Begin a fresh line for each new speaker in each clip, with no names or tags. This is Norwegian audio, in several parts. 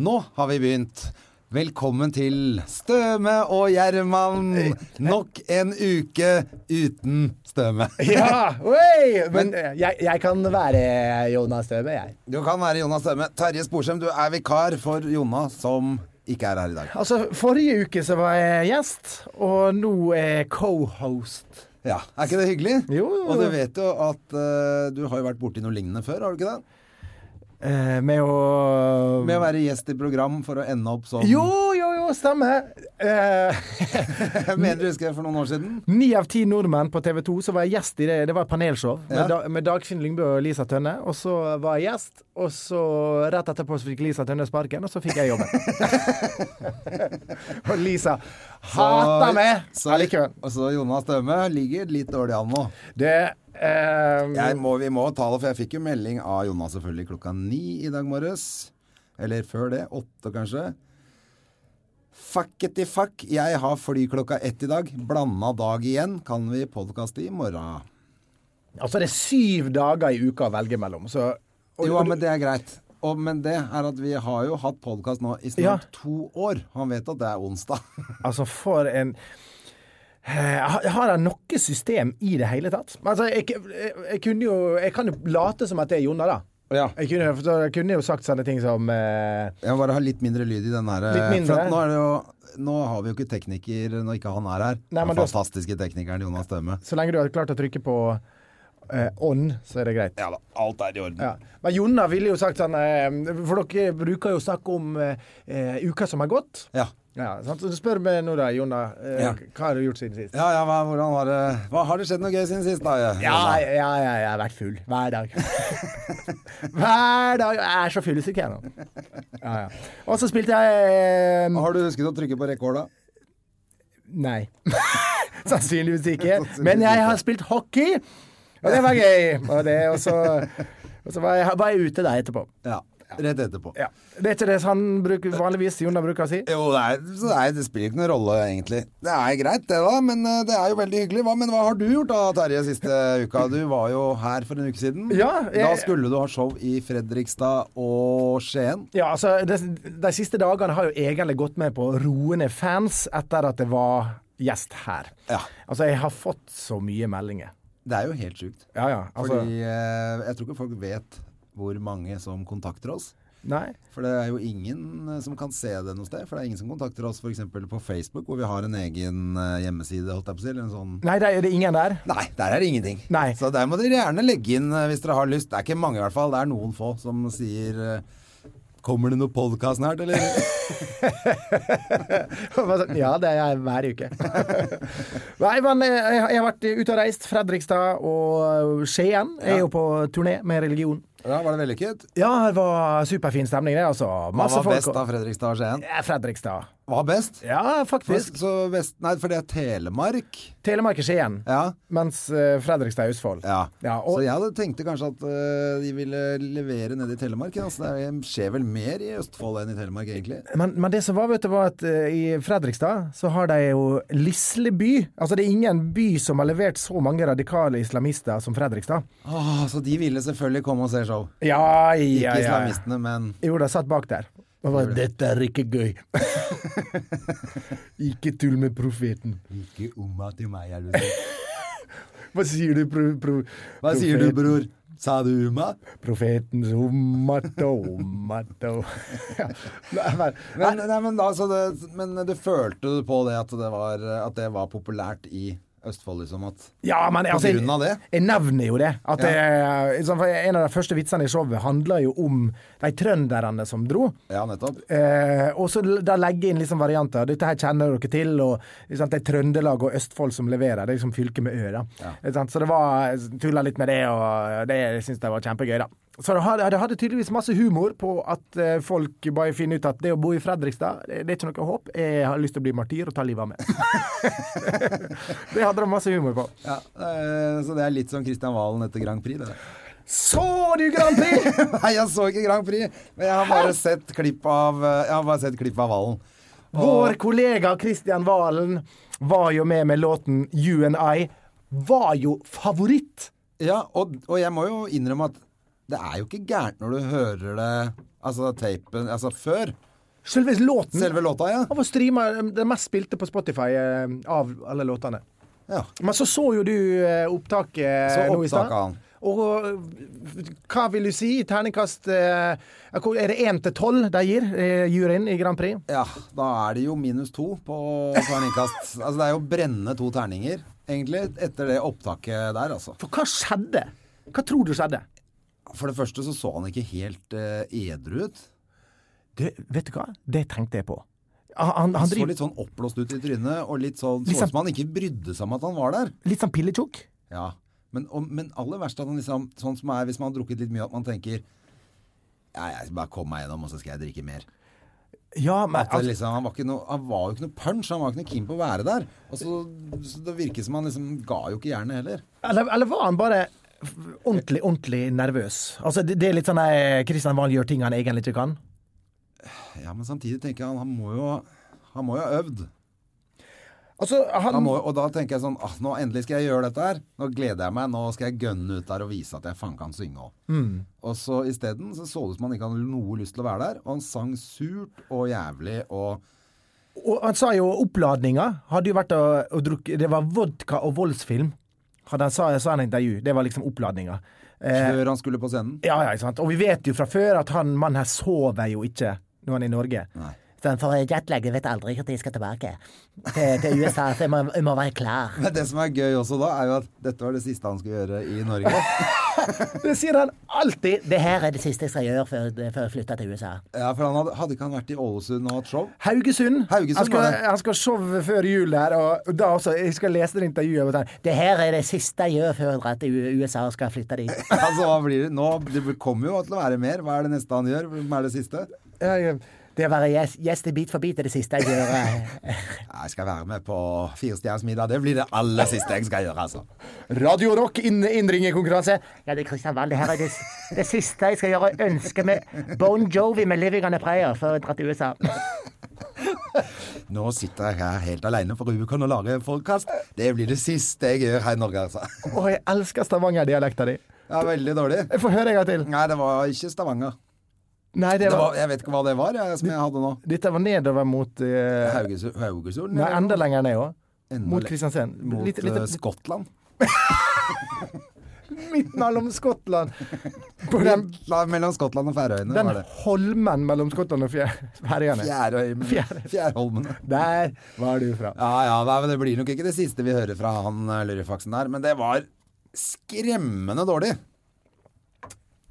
Nå har vi begynt. Velkommen til Støme og Gjerman. Nok en uke uten Støme.
Ja! Oi! Men eh, jeg, jeg kan være Jonas Støme, jeg.
Du kan være Jonas Støme. Terje Sporsem, du er vikar for Jonna, som ikke er her i dag.
Altså, Forrige uke så var jeg gjest, og nå er jeg co-host.
Ja, Er ikke det hyggelig?
Jo, jo, jo.
Og du vet jo at eh, du har jo vært borti noe lignende før, har du ikke det?
Eh, med å
Med å være gjest i program for å ende opp som
Jo, jo, jo, stemmer. Eh,
Jeg mener du husker det for noen år siden?
Ni av ti nordmenn på TV 2, så var jeg gjest i det. Det var et panelshow med,
Ja.
da, med Dagfinn Lyngbø og Lisa Tønne. Og så var jeg gjest, og så rett etterpå så fikk Lisa Tønne sparken, og så fikk jeg jobben. og Lisa hater meg
Så-
allikevel.
Og så Jonas Støme ligger litt dårlig an nå.
Det eh,
Jeg må, vi må ta det, for jeg fikk jo melding av Jonas selvfølgelig klokka ni i dag morges. Eller før det. Åtte, kanskje. Fuckety fuck, jeg har fly klokka ett i dag. Blanda dag igjen. Kan vi podkaste i morgen?
Altså, det er syv dager i uka å velge mellom, så og-
Jo, men det er greit. Og, men det er at vi har jo hatt podkast nå i
Ja.
snart to år. Han vet at det er onsdag.
Altså, for en Eh, har- har jeg noe system i det hele tatt? Men Altså, jeg, jeg, jeg kunne jo Jeg kan jo late som at det er Jonna, da. Jeg kunne, jo- for jeg kunne jo sagt sånne ting som eh,
Jeg må bare ha litt mindre lyd i den her.
Litt mindre?
For at nå, er det jo, nå har vi jo ikke tekniker når ikke han er her.
Nei, men
den
du-
fantastiske teknikeren Jonas Støme.
Så lenge du har klart å trykke på eh, on, så er det greit.
Ja da, alt er i orden.
Ja. Men Jonna ville jo sagt sånn eh, For dere bruker jo snakke om eh, eh, uka som har gått.
Ja.
Ja, sant? Så spør meg nå, da, Jonna. Eh,
Ja.
Hva har du gjort siden sist?
Ja, ja, hva, hvordan har det hva, Har det skjedd noe gøy siden sist, da? Jonna?
Ja, ja, ja, jeg har vært full. Hver dag. Hver dag. Jeg er så fyllesyk, jeg nå. Ja, ja. Og så spilte jeg eh,
Har du husket å trykke på rekord, da?
Nei. Sannsynligvis ikke. Men jeg har spilt hockey, og det var gøy. Og, det, og så, og så var, jeg, var jeg ute der etterpå.
Ja. Rett etterpå.
Ja. Det er ikke det han bruker, vanligvis Jonna bruker å si.
Jo, det, er, så det, er, det spiller ikke noen rolle, egentlig. Det er greit, det, da. Men eh, det er jo veldig hyggelig. Hva, men hva har du gjort, da, Terje, siste uka? Du var jo her for en uke siden.
Ja, jeg-
Da skulle du ha show i Fredrikstad og Skien.
Ja, altså, de, de siste dagene har jo egentlig gått med på roende fans etter at det var gjest her.
Ja.
Altså, jeg har fått så mye meldinger.
Det er jo helt sjukt.
Ja, ja. Altså,
Fordi eh, jeg tror ikke folk vet hvor mange som kontakter oss.
Nei.
For det er jo ingen eh, som kan se det noe sted. For det er ingen som kontakter oss f.eks. på Facebook, hvor vi har en egen eh, hjemmeside, holdt jeg på å si. Eller en sånn
Nei, det er det ingen der.
Nei, der er det ingenting.
Nei.
Så der må dere gjerne legge inn eh, hvis dere har lyst. Det er ikke mange, i hvert fall. Det er noen få som sier eh, Kommer det noe podkast snart, eller?
Bare sånn, ja, det er jeg hver uke. Nei, men eh, jeg, har- jeg har vært ute og reist. Fredrikstad og eh, Skien. Jeg er jo på turné med religion.
ja, var det vellykket?
Ja, det var superfin stemning, det, altså.
Hva
Masse
var
folk.
best av Fredrikstad og Skien?
Ja, Fredrikstad.
Hva best?
Ja,
For,
faktisk.
så best nei, for det er Telemark.
Telemark er Skien,
Ja.
mens eh, Fredrikstad er Østfold.
Ja.
og,
Så jeg hadde tenkte kanskje at eh, de ville levere nede i Telemark. ja. Så det er- skjer vel mer i Østfold enn i Telemark, egentlig.
Men, men det som var, vet du, var at eh, i Fredrikstad så har de jo Lisleby. Altså det er ingen by som har levert så mange radikale islamister som Fredrikstad.
Åh, så de ville selvfølgelig komme og se show.
Ja,
Ikke
ja, ja.
islamistene, men
Jo, de satt bak der. Og bare, Dette er ikke gøy. ikke tull med profeten.
Ikke umma til meg, Elvesen.
Hva sier du, pro, pro,
Hva sier du,
profet-
bror? Sa du umma?
Profeten Romato, Romato. ja. Nei, men-
Men, nei, men, da, så det, men du følte på det at det var, at det var populært i Østfold, liksom? At,
Ja, men altså,
grunn av det?
Jeg, jeg nevner jo det. At det liksom, for en av de første vitsene i showet handler jo om de trønderne som dro.
ja, nettopp.
Eh, og så l- da legge inn liksom varianter. Dette her kjenner dere til. Og ikke sant, det er Trøndelag og Østfold som leverer. Det er liksom fylket med ø, da. Ikke sant, Så det var tulla litt med det, og det syns jeg var kjempegøy, da. Så det hadde, det hadde tydeligvis masse humor på at eh, folk bare finner ut at det å bo i Fredrikstad, det det er ikke noe håp. Jeg har lyst til å bli martyr og ta livet av meg. det hadde de masse humor på.
Ja, eh, så det er litt som Kristian Valen etter Grand Prix, det der.
Så du Grand Prix!
Nei, jeg så ikke Grand Prix, men jeg har bare sett klipp av, eh, jeg har bare sett klipp av Valen.
Vår kollega Kristian Valen var jo med med låten You and I. Var jo favoritt.
Ja, og, og jeg må jo innrømme at det er jo ikke gærent når du hører det Altså tapen Altså før
Selve låten.
selve låta, ja.
Han var streama eh, den mest spilte på Spotify eh, av alle låtene.
ja.
Men så så jo du eh, opptaket eh,
Så
nå i stad.
opptaket han.
Og eh, hva vil du si? Terningkast eh, hvor- Er det én til tolv de gir eh, juryen i Grand Prix?
Ja, da er det jo minus to på terningkast. altså det er jo brennende to terninger, egentlig, etter det opptaket der, altså.
For hva skjedde? Hva tror du skjedde?
For det første så så han ikke helt eh, edru ut.
Det, vet du hva? Det tenkte jeg på. Han, han, han
Han så
driver litt,
litt sånn oppblåst ut i trynet, og litt sånn
Litt
så
sånn-
ut som han ikke brydde seg om at han var der.
sånn pilletjukk.
Ja, men, og, men aller verst at han liksom, sånn som er hvis man har drukket litt mye, at man tenker ja, jeg bare kom meg gjennom, og så skal jeg drikke mer.
Ja, men
At det
altså,
liksom, han, var ikke noe, han var jo ikke noe punch, han var ikke noe keen på å være der. Og så, så Det virker som han liksom ga jo ikke jernet heller.
eller, eller var han bare f- ordentlig, ordentlig nervøs? Altså, det, det er litt sånn eh, Kristian Wahl gjør ting han egentlig ikke kan.
Ja, Men samtidig tenker jeg han, han må jo han må jo ha øvd.
Altså, han,
Han må, og da tenker jeg sånn ah, Nå endelig skal jeg gjøre dette her. Nå gleder jeg meg. Nå skal jeg gønne ut der og vise at jeg faen kan synge òg.
Mm.
Og så isteden så, så det ut som han ikke hadde noe lyst til å være der. Og han sang surt og jævlig og
Og han sa jo oppladninga hadde jo vært å, å drukke Det var vodka og voldsfilm, hadde han sa, sa han i intervju. Det var liksom oppladninga. Eh,
Før han skulle på scenen.
ja, ja, ikke sant. Og vi vet jo fra før at han mannen her sover jo ikke når han er i Norge.
Nei.
Sånn, for jetlaget vet aldri når de skal tilbake til, til USA, så jeg må, jeg må være klar.
Men det som er gøy også da, er jo at dette var det siste han skulle gjøre i Norge.
Det sier han alltid!
Det her er det siste jeg skal gjøre før, før jeg flytter til USA.
Ja, For han hadde, hadde ikke han vært i Ålesund og hatt show?
Haugesund.
Haugesund
han,
var
skal,
det.
han skal showe før jul der, og da også. Jeg skal lese det intervjuet. og sånn,
Det her er det siste jeg gjør før jeg drar til U- USA og skal flytte dit.
Altså, hva blir det? Nå, det kommer jo til å være mer. Hva er det neste han gjør? Hva er det siste?
jeg-
Det å være gjest, gjest i Beat for beat er det siste jeg gjør. eh.
Jeg skal være med på Firestjerners middag. Det blir det aller siste jeg skal gjøre, altså.
Radio Rock inn, innringerkonkurranse.
Ja, det er Christian Wall. Det her er det, s- det siste jeg skal gjøre. Jeg ønsker meg Bon Jovi med 'Living on a Prayer' før jeg drar til USA.
Nå sitter jeg her helt alene på Rubicon og lager forkast. Det blir det siste jeg gjør her i Norge, altså.
Å, jeg elsker Stavanger-dialekta di.
Ja, veldig dårlig.
Jeg får høre en gang til.
Nei, det var ikke Stavanger.
Nei, det
Det
var
var, jeg vet ikke hva det var, jeg, som jeg hadde nå.
Dette var nedover mot eh,
Haugesund? Haugesund
Nei,
eller
enda
noe?
lenger ned òg.
Enda
Mot
le-
Kristiansand.
Mot
Litt, litt,
eh,
litt,
Skottland.
midt mellom Skottland. På den,
Litt la- Mellom Skottland og Færøyene
den
var det.
holmen mellom Skottland og Fjær- Færøyene.
Fjærøyene.
Fjær-
Fjærholmen.
Der var du fra.
Ja, ja, nei, men det blir nok ikke det siste vi hører fra han eh, lurifaksen der, men det var skremmende dårlig.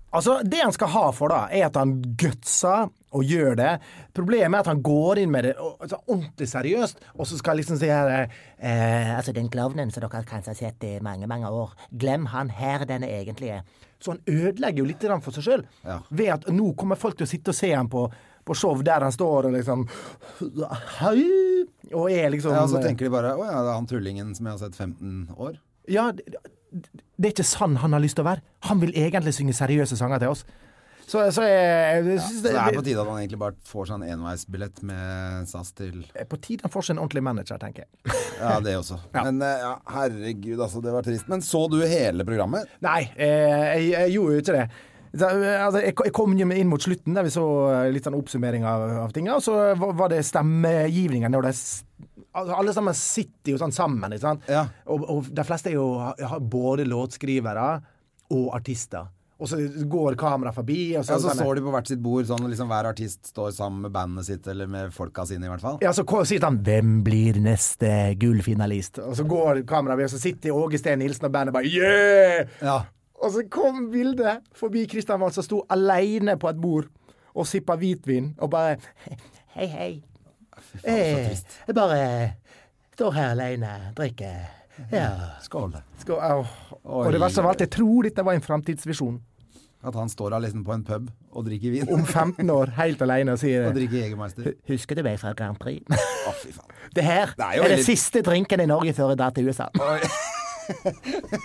Altså, Det han skal ha for, da, er at han gutser og gjør det. Problemet er at han går inn med det og, altså, ordentlig seriøst, og så skal liksom si her eh,
Eh, altså, den klovnen som dere kanskje har sett i mange, mange år, glem han her den er egentlig.
Så han ødelegger jo litt grann for seg sjøl.
Ja.
Ved at nå kommer folk til å sitte og se ham på, på show der han står og liksom Hei! Og er liksom
Ja, altså, og så tenker de bare å ja, det er han tullingen som jeg har sett 15 år.
Ja, det, det er ikke sann han har lyst til å være. Han vil egentlig synge seriøse sanger til oss. Så, så jeg, jeg synes
Så det er på
det,
tide at han egentlig bare får seg en enveisbillett med SAS til
det er på tide han får seg en ordentlig manager, tenker jeg.
Ja, det også. Men eh, ja, herregud, altså, det var trist. Men så du hele programmet?
Nei, eh, jeg, jeg gjorde jo ikke det. Så, eh, Altså, jeg, jeg kom jo inn mot slutten, der vi så eh, litt sånn oppsummering av, av tinga. Og så var- var det stemmegivningen. Når det, s- altså, alle sammen sitter jo sånn sammen, ikke sant.
Ja.
Og, og de fleste er jo, har både låtskrivere og artister. Og så går kameraet forbi. Og så,
Ja,
sånn-
så Altså, står de på hvert sitt bord, sånn liksom hver artist står sammen med bandet sitt, eller med folka sine i hvert fall.
Ja, så ko- sier han 'Hvem blir neste gullfinalist?' Og så går kameraet ved, og så sitter Åge Steen Nilsen og bandet bare 'Yeah!'
Ja.
Og så kom bildet forbi Kristian Wahl, som sto aleine på et bord og sippa hvitvin, og bare
Hei, hei.
så
Eh,
trist.
jeg bare står her alene, drikker. Ja.
Skål.
skal, au. Og det verste av alt, jeg tror dette var en framtidsvisjon.
At han står her liksom på en pub og drikker vin.
Om 15 år, helt alene, og sier
og
det.
drikker Jegermeister.
Husker du meg fra Grand Prix?
Å, fy faen.
Det her
Det er
er,
jo
det
veldig-
siste drinken i Norge før jeg drar til USA.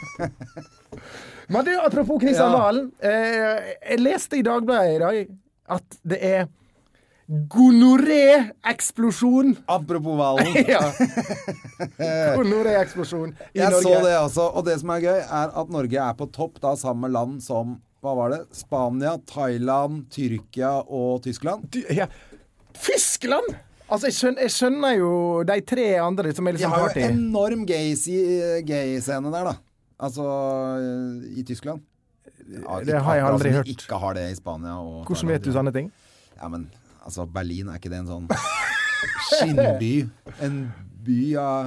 Men du, apropos Kristian
Ja.
Valen. Eh, jeg leste i Dagbladet i dag at det er gonoré-eksplosjon.
Apropos hvalen.
Ja. Gonoré-eksplosjon i
Jeg
Norge.
så det også. Og det som er gøy, er at Norge er på topp da samme land som hva var det? Spania, Thailand, Tyrkia og Tyskland.
Du, ja. Fiskland! Altså, jeg skjønner, jeg skjønner jo de tre andre som er
De
liksom
har jo
party.
enorm gays i- gay-scene der, da. Altså eh, i Tyskland. Ja,
Det har jeg
akkurat
aldri
som de
hørt.
Ikke har det i Spania og
Hvordan vet du sånn? sånne ting?
Ja, men altså, Berlin, er ikke det en sånn skinnby? En by av,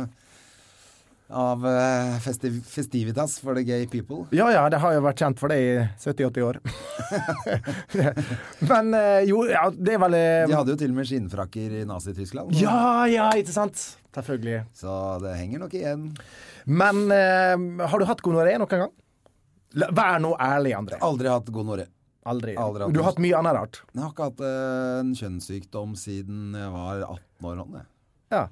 av eh, festi festivitas for the gay people?
Ja ja, det har jo vært kjent for det i 70-80 år. Men eh, jo, ja, det er vel eh,
De hadde jo til og med skinnfrakker i Nazi-Tyskland. så-
Ja ja, ikke sant? Selvfølgelig.
Så det henger nok igjen.
Men eh, har du hatt gonoré noen gang? La- Vær nå ærlig, André.
Aldri hatt gonoré.
Aldri.
Aldri hatt
Du har hatt mye annet rart.
Jeg har ikke hatt eh, en kjønnssykdom siden jeg var 18 år. Anne.
Ja.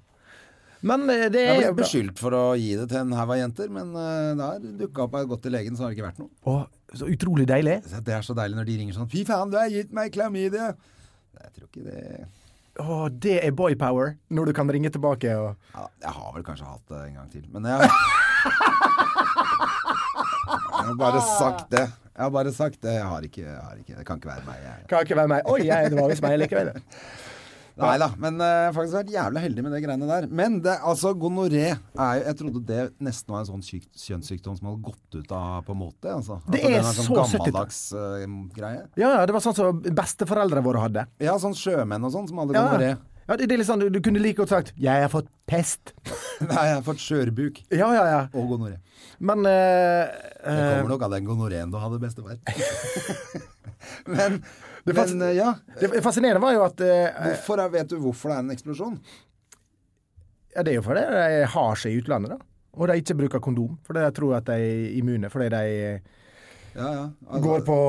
Men eh, det
Jeg
er
har
jo
blitt
bra.
beskyldt for å gi det til en haug av jenter, men eh, det har dukka opp jeg har gått til legen, så har det ikke vært noe.
Å, så utrolig deilig.
Så Det er så deilig når de ringer sånn 'Fy faen, du har gitt meg klamydia'. Jeg tror ikke det ja,
Å, det er boy power. Når du kan ringe tilbake og
Jeg har vel kanskje hatt det en gang til, men jeg Jeg har bare sagt det. Jeg har bare sagt det. Jeg har ikke, jeg har ikke Det kan ikke være meg. Jeg.
Kan ikke være meg. Oi, jeg, det var visst meg likevel.
Nei da, men eh, jeg har faktisk vært jævlig heldig med det greiene der. Men det, altså, gonoré er jo Jeg trodde det nesten var en sånn syk, kjønnssykdom som hadde gått ut av på en måte. Altså.
Det
at
er
den sånn
så 70-tall.
gammeldags eh, greie.
Ja, ja, det var sånn som besteforeldrene våre hadde.
Ja, sånn sjømenn og sånn som hadde
Ja,
gonoré.
ja det, det er litt sånn, du, du kunne like godt sagt 'jeg har fått pest'.
Nei, jeg har fått skjørbuk
Ja, ja, ja.
og gonoré.
Men eh,
Det
eh,
kommer nok av den gonoréen du hadde, bestefar. men
Det
men
fas-
eh, ja.
det fascinerende var jo at eh,
Hvorfor er, vet du hvorfor det er en eksplosjon?
ja, Det er jo fordi de har seg i utlandet, da. Og de ikke bruker kondom, fordi de tror at de er immune. Fordi de eh,
Ja, ja. Altså,
går på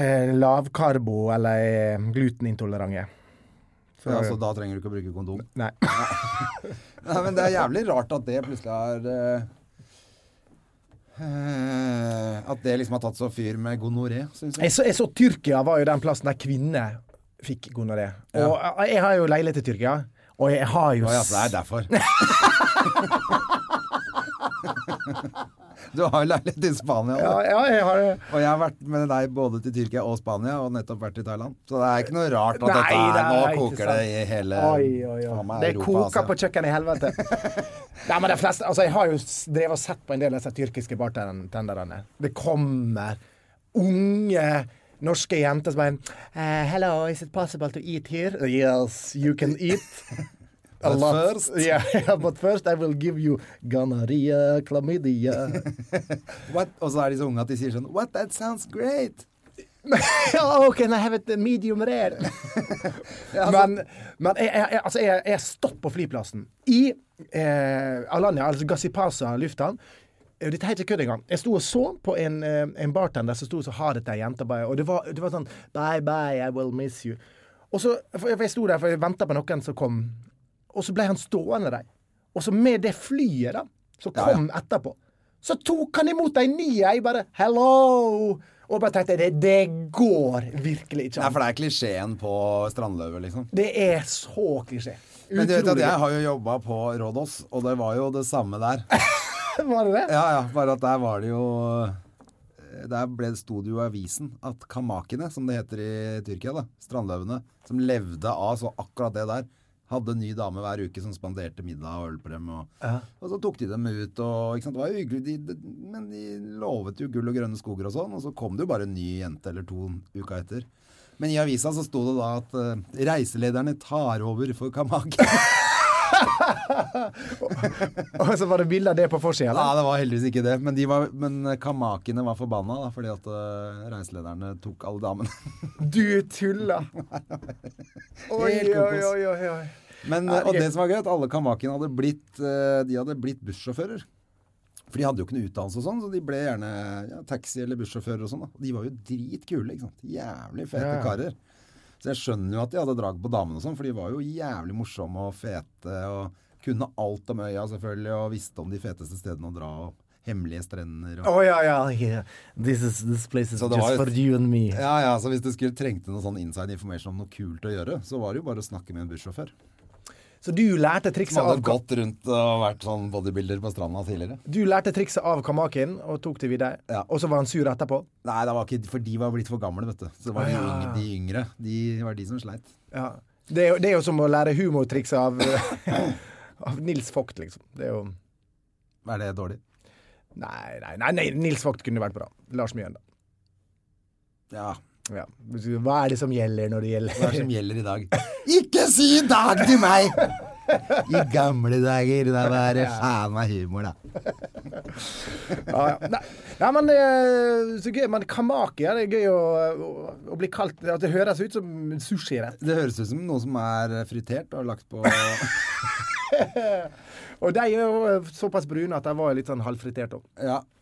eh, lavkarbo eller er glutenintolerante. Så,
ja, altså- så da trenger du ikke å bruke kondom.
Nei.
Nei, men det er jævlig rart at det plutselig har eh, eh, At det liksom har tatt så fyr med gonoré, syns jeg.
Jeg så, jeg så Tyrkia var jo den plassen der kvinner fikk gonoré. Og eh, jeg, jeg har jo leilighet i Tyrkia, og jeg har jo
Å ja, så det er derfor. du har jo leilighet i Spania,
Ja,
også.
ja, jeg har
og jeg har vært med deg både til Tyrkia og Spania, og nettopp vært i Thailand. Så det er ikke noe rart at
Nei,
dette er,
det er
nå
ikke
koker det
sant.
i hele
Oi, oi,
faen
oi.
meg
Det
Europa, altså.
koker
Asia.
på kjøkkenet i helvete. Nei, men de fleste, altså, jeg har jo s- drevet og sett på en del av disse tyrkiske bartenderne. Det kommer unge norske jenter som er eh, Hello, is it possible to eat here? Uh, Yes, you can eat. A
But
lot.
first-
Yeah, but first I will give you gonorrhea, chlamydia.
What? Og så er de så unge at de sier sånn What, that sounds great!
oh, can I have it medium rare?
altså-
men men jeg, jeg, jeg- altså jeg, jeg stopp på flyplassen. I eh, Alanya, altså Gassipasa lufthavn. Eh, Dette er ikke kødd engang. Jeg sto og så på en, eh, en bartender som sto og så hadet ei jente. bare, Og det var, det var sånn Bye, bye, I will miss you. Og så, for jeg, for jeg sto der for jeg venta på noen som kom. Og så ble han stående der. Og så med det flyet da, som
Ja, ja.
kom etterpå, så tok han imot ei ny ei, bare 'hello'. Og bare tenkte det, det går virkelig ikke
Nei,
an.
for det er klisjeen på strandløvet, liksom.
Det er så klisjé.
Men du vet at
Utrolig.
jeg har jo jobba på Rådås, og det var jo det samme der.
Var det det?
Ja, ja, bare at der var det jo Der ble, sto det jo i avisen at kamakene, som det heter i Tyrkia, da, strandløvene, som levde av så akkurat det der, hadde en ny dame hver uke som spanderte middag og øl på dem. Og, og så tok de dem ut, og ikke sant, det var jo hyggelig, de, de, men de lovet jo gull og grønne skoger og sånn, og så kom det jo bare en ny jente eller to uka etter. Men i avisa så sto det da at eh, reiselederne tar over for kamakene.
Og så var det bilde av det på forsida.
Nei,
eller?
det var heldigvis ikke det. Men, de var, men kamakene var forbanna da, fordi at eh, reiselederne tok alle damene.
Du tuller! Oi,
Helt
oi,
kokos.
oi, oi, oi.
Men, eh, og det som var gøy, at alle kamakene hadde blitt, eh, de hadde blitt bussjåfører. For de hadde jo ikke noe utdannelse og sånn, så de ble gjerne ja, taxi- eller bussjåfører og sånn. da. Og De var jo dritkule, ikke sant. Jævlig fete
Ja, ja.
karer. Så jeg skjønner jo at de hadde drag på damene og sånn, for de var jo jævlig morsomme og fete og kunne alt om øya selvfølgelig, og visste om de feteste stedene å dra og hemmelige strender og
Å ja, ja. yeah. This, is, this place is
Så det
just
var jo-
for you and me.
Ja, ja, så hvis du skulle trengte noe sånn inside information om noe kult å gjøre, så var det jo bare å snakke med en bussjåfør.
Så du lærte trikset
Som
av
hadde gått rundt og vært sånn bodybuilder på stranda tidligere.
Du lærte trikset av Kamakin og tok det videre.
Ja.
Og så var han sur etterpå.
Nei, det var ikke, for de var blitt for gamle, vet du. Så det var de,
ja.
yngre, de yngre. De var de som sleit.
Ja. Det, er jo, det er jo som å lære humortrikset av, av Nils Vogt, liksom. Det er jo
Er det dårlig?
Nei, nei, nei, nei Nils Vogt kunne vært bra. Lars Mjøen, da.
Ja.
Ja. Hva er det som gjelder når det
Hva er
gjelder?
det som gjelder i dag? Ikke si i dag til meg! I gamle dager, da var det faen meg humor, da.
Ja, ja. Nei, nei, men eh, så gøy. Men Kamaki, ja, det er gøy å, å, å bli kalt At det høres ut som en sushirett.
Det høres ut som noe som er fritert og lagt på Ja,
Og de er jo eh, såpass brune at de var litt sånn halvfritert òg.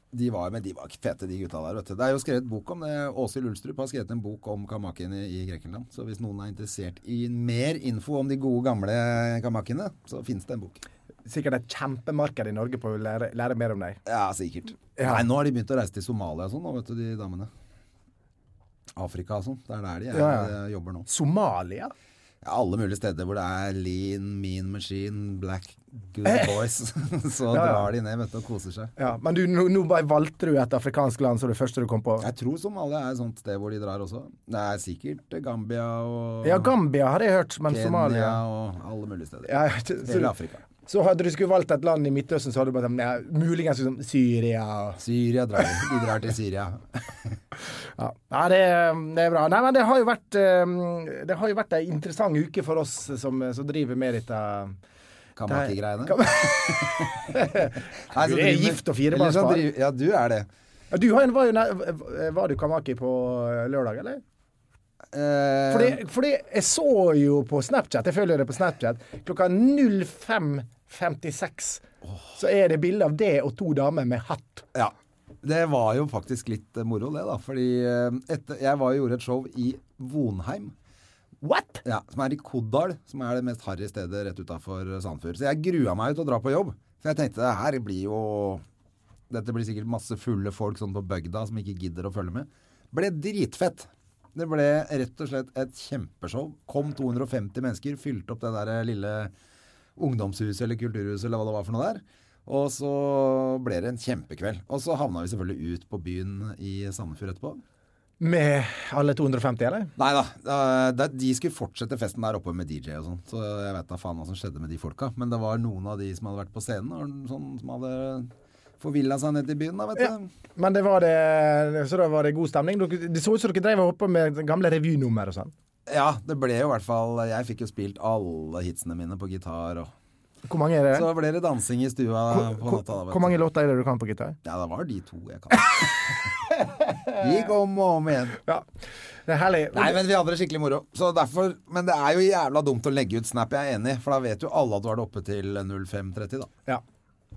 de var, men de var ikke fete, de gutta der, vet du. Det er jo skrevet bok om det. Åshild Ulstrup har skrevet en bok om kamakene i Grekenland. Så hvis noen er interessert i mer info om de gode, gamle kamakene, så fins det en bok.
Sikkert et kjempemarked i Norge på å lære, lære mer om dem.
Ja, sikkert. Nei, nå har de begynt å reise til Somalia og sånn, nå, vet du, de damene. Afrika og sånn. Det er der de er,
Ja, ja.
eh, jobber nå.
Somalia?
Ja, alle mulige steder hvor det er lean, mean machine, black good boys. så
Eh. Ja, ja.
drar de ned, vet du, og koser seg.
Ja, men du, nå, nå bare valgte du et afrikansk land som det første du kom på.
Jeg tror Somalia er et sånt sted hvor de drar også. Det er sikkert Gambia og
Ja, Gambia har jeg hørt, men
Kenya
Somalia
og alle mulige steder.
ja, ja, så-
Hele Afrika.
Så hadde du skulle valgt et land i Midtøsten, så hadde du bare sånn, ja, muligens liksom Syria og
Syria drar de. De drar til Syria.
Ja, Nei, det, det er bra. Nei, men det har jo vært eh, Det har jo vært ei interessant uke for oss som, som driver med dette.
Kamaki-greiene.
Kam-
Nei,
Du er
så driver-
gift og firebarnsfar.
eller så driver- Ja, du er det.
Ja, Du har en, var, jo, nær- var du kamaki på lørdag, eller?
Eh,
Fordi, fordi jeg så jo på Snapchat, jeg følger det på Snapchat, klokka 05.56 så er det bilde av det og to damer med hatt.
Ja. Det var jo faktisk litt eh, moro, det, da. Fordi eh, etter, jeg var jo gjorde et show i Vonheim.
What?!
Ja, som er i Kodal, som er det mest harry stedet rett utafor Sandfjord. Så jeg grua meg til å dra på jobb. For jeg tenkte det her blir jo Dette blir sikkert masse fulle folk sånn på bygda som ikke gidder å følge med. Ble dritfett. Det ble rett og slett et kjempeshow. Kom 250 mennesker, fylte opp det der lille ungdomshuset eller kulturhuset eller hva det var for noe der. Og så ble det en kjempekveld. Og så havna vi selvfølgelig ut på byen i Sandefjord etterpå.
Med alle 250, eller?
Nei da. det- De skulle fortsette festen der oppe med DJ og sånn. Så jeg vet da faen hva som skjedde med de folka. Men det var noen av de som hadde vært på scenen, og sånn, som hadde forvilla seg ned til byen, da, vet du.
Ja. Men det var det, så da var det god stemning? Dere- Det så ut som dere drev og hoppa med gamle revynummer og sånn.
Ja, det ble jo i hvert fall Jeg fikk jo spilt alle hitsene mine på gitar, og
Hvor mange er det?
så ble det dansing i stua på natta, da, vet
Hvor
du.
mange låter er det du kan på gitar?
Ja, det var de to jeg kan. Gikk om og om igjen.
Ja. Det er herlig.
Nei, men vi hadde det skikkelig moro. Så derfor, men det er jo jævla dumt å legge ut snap, jeg er enig. For da vet jo alle at du har det oppe til 05.30, da.
Ja.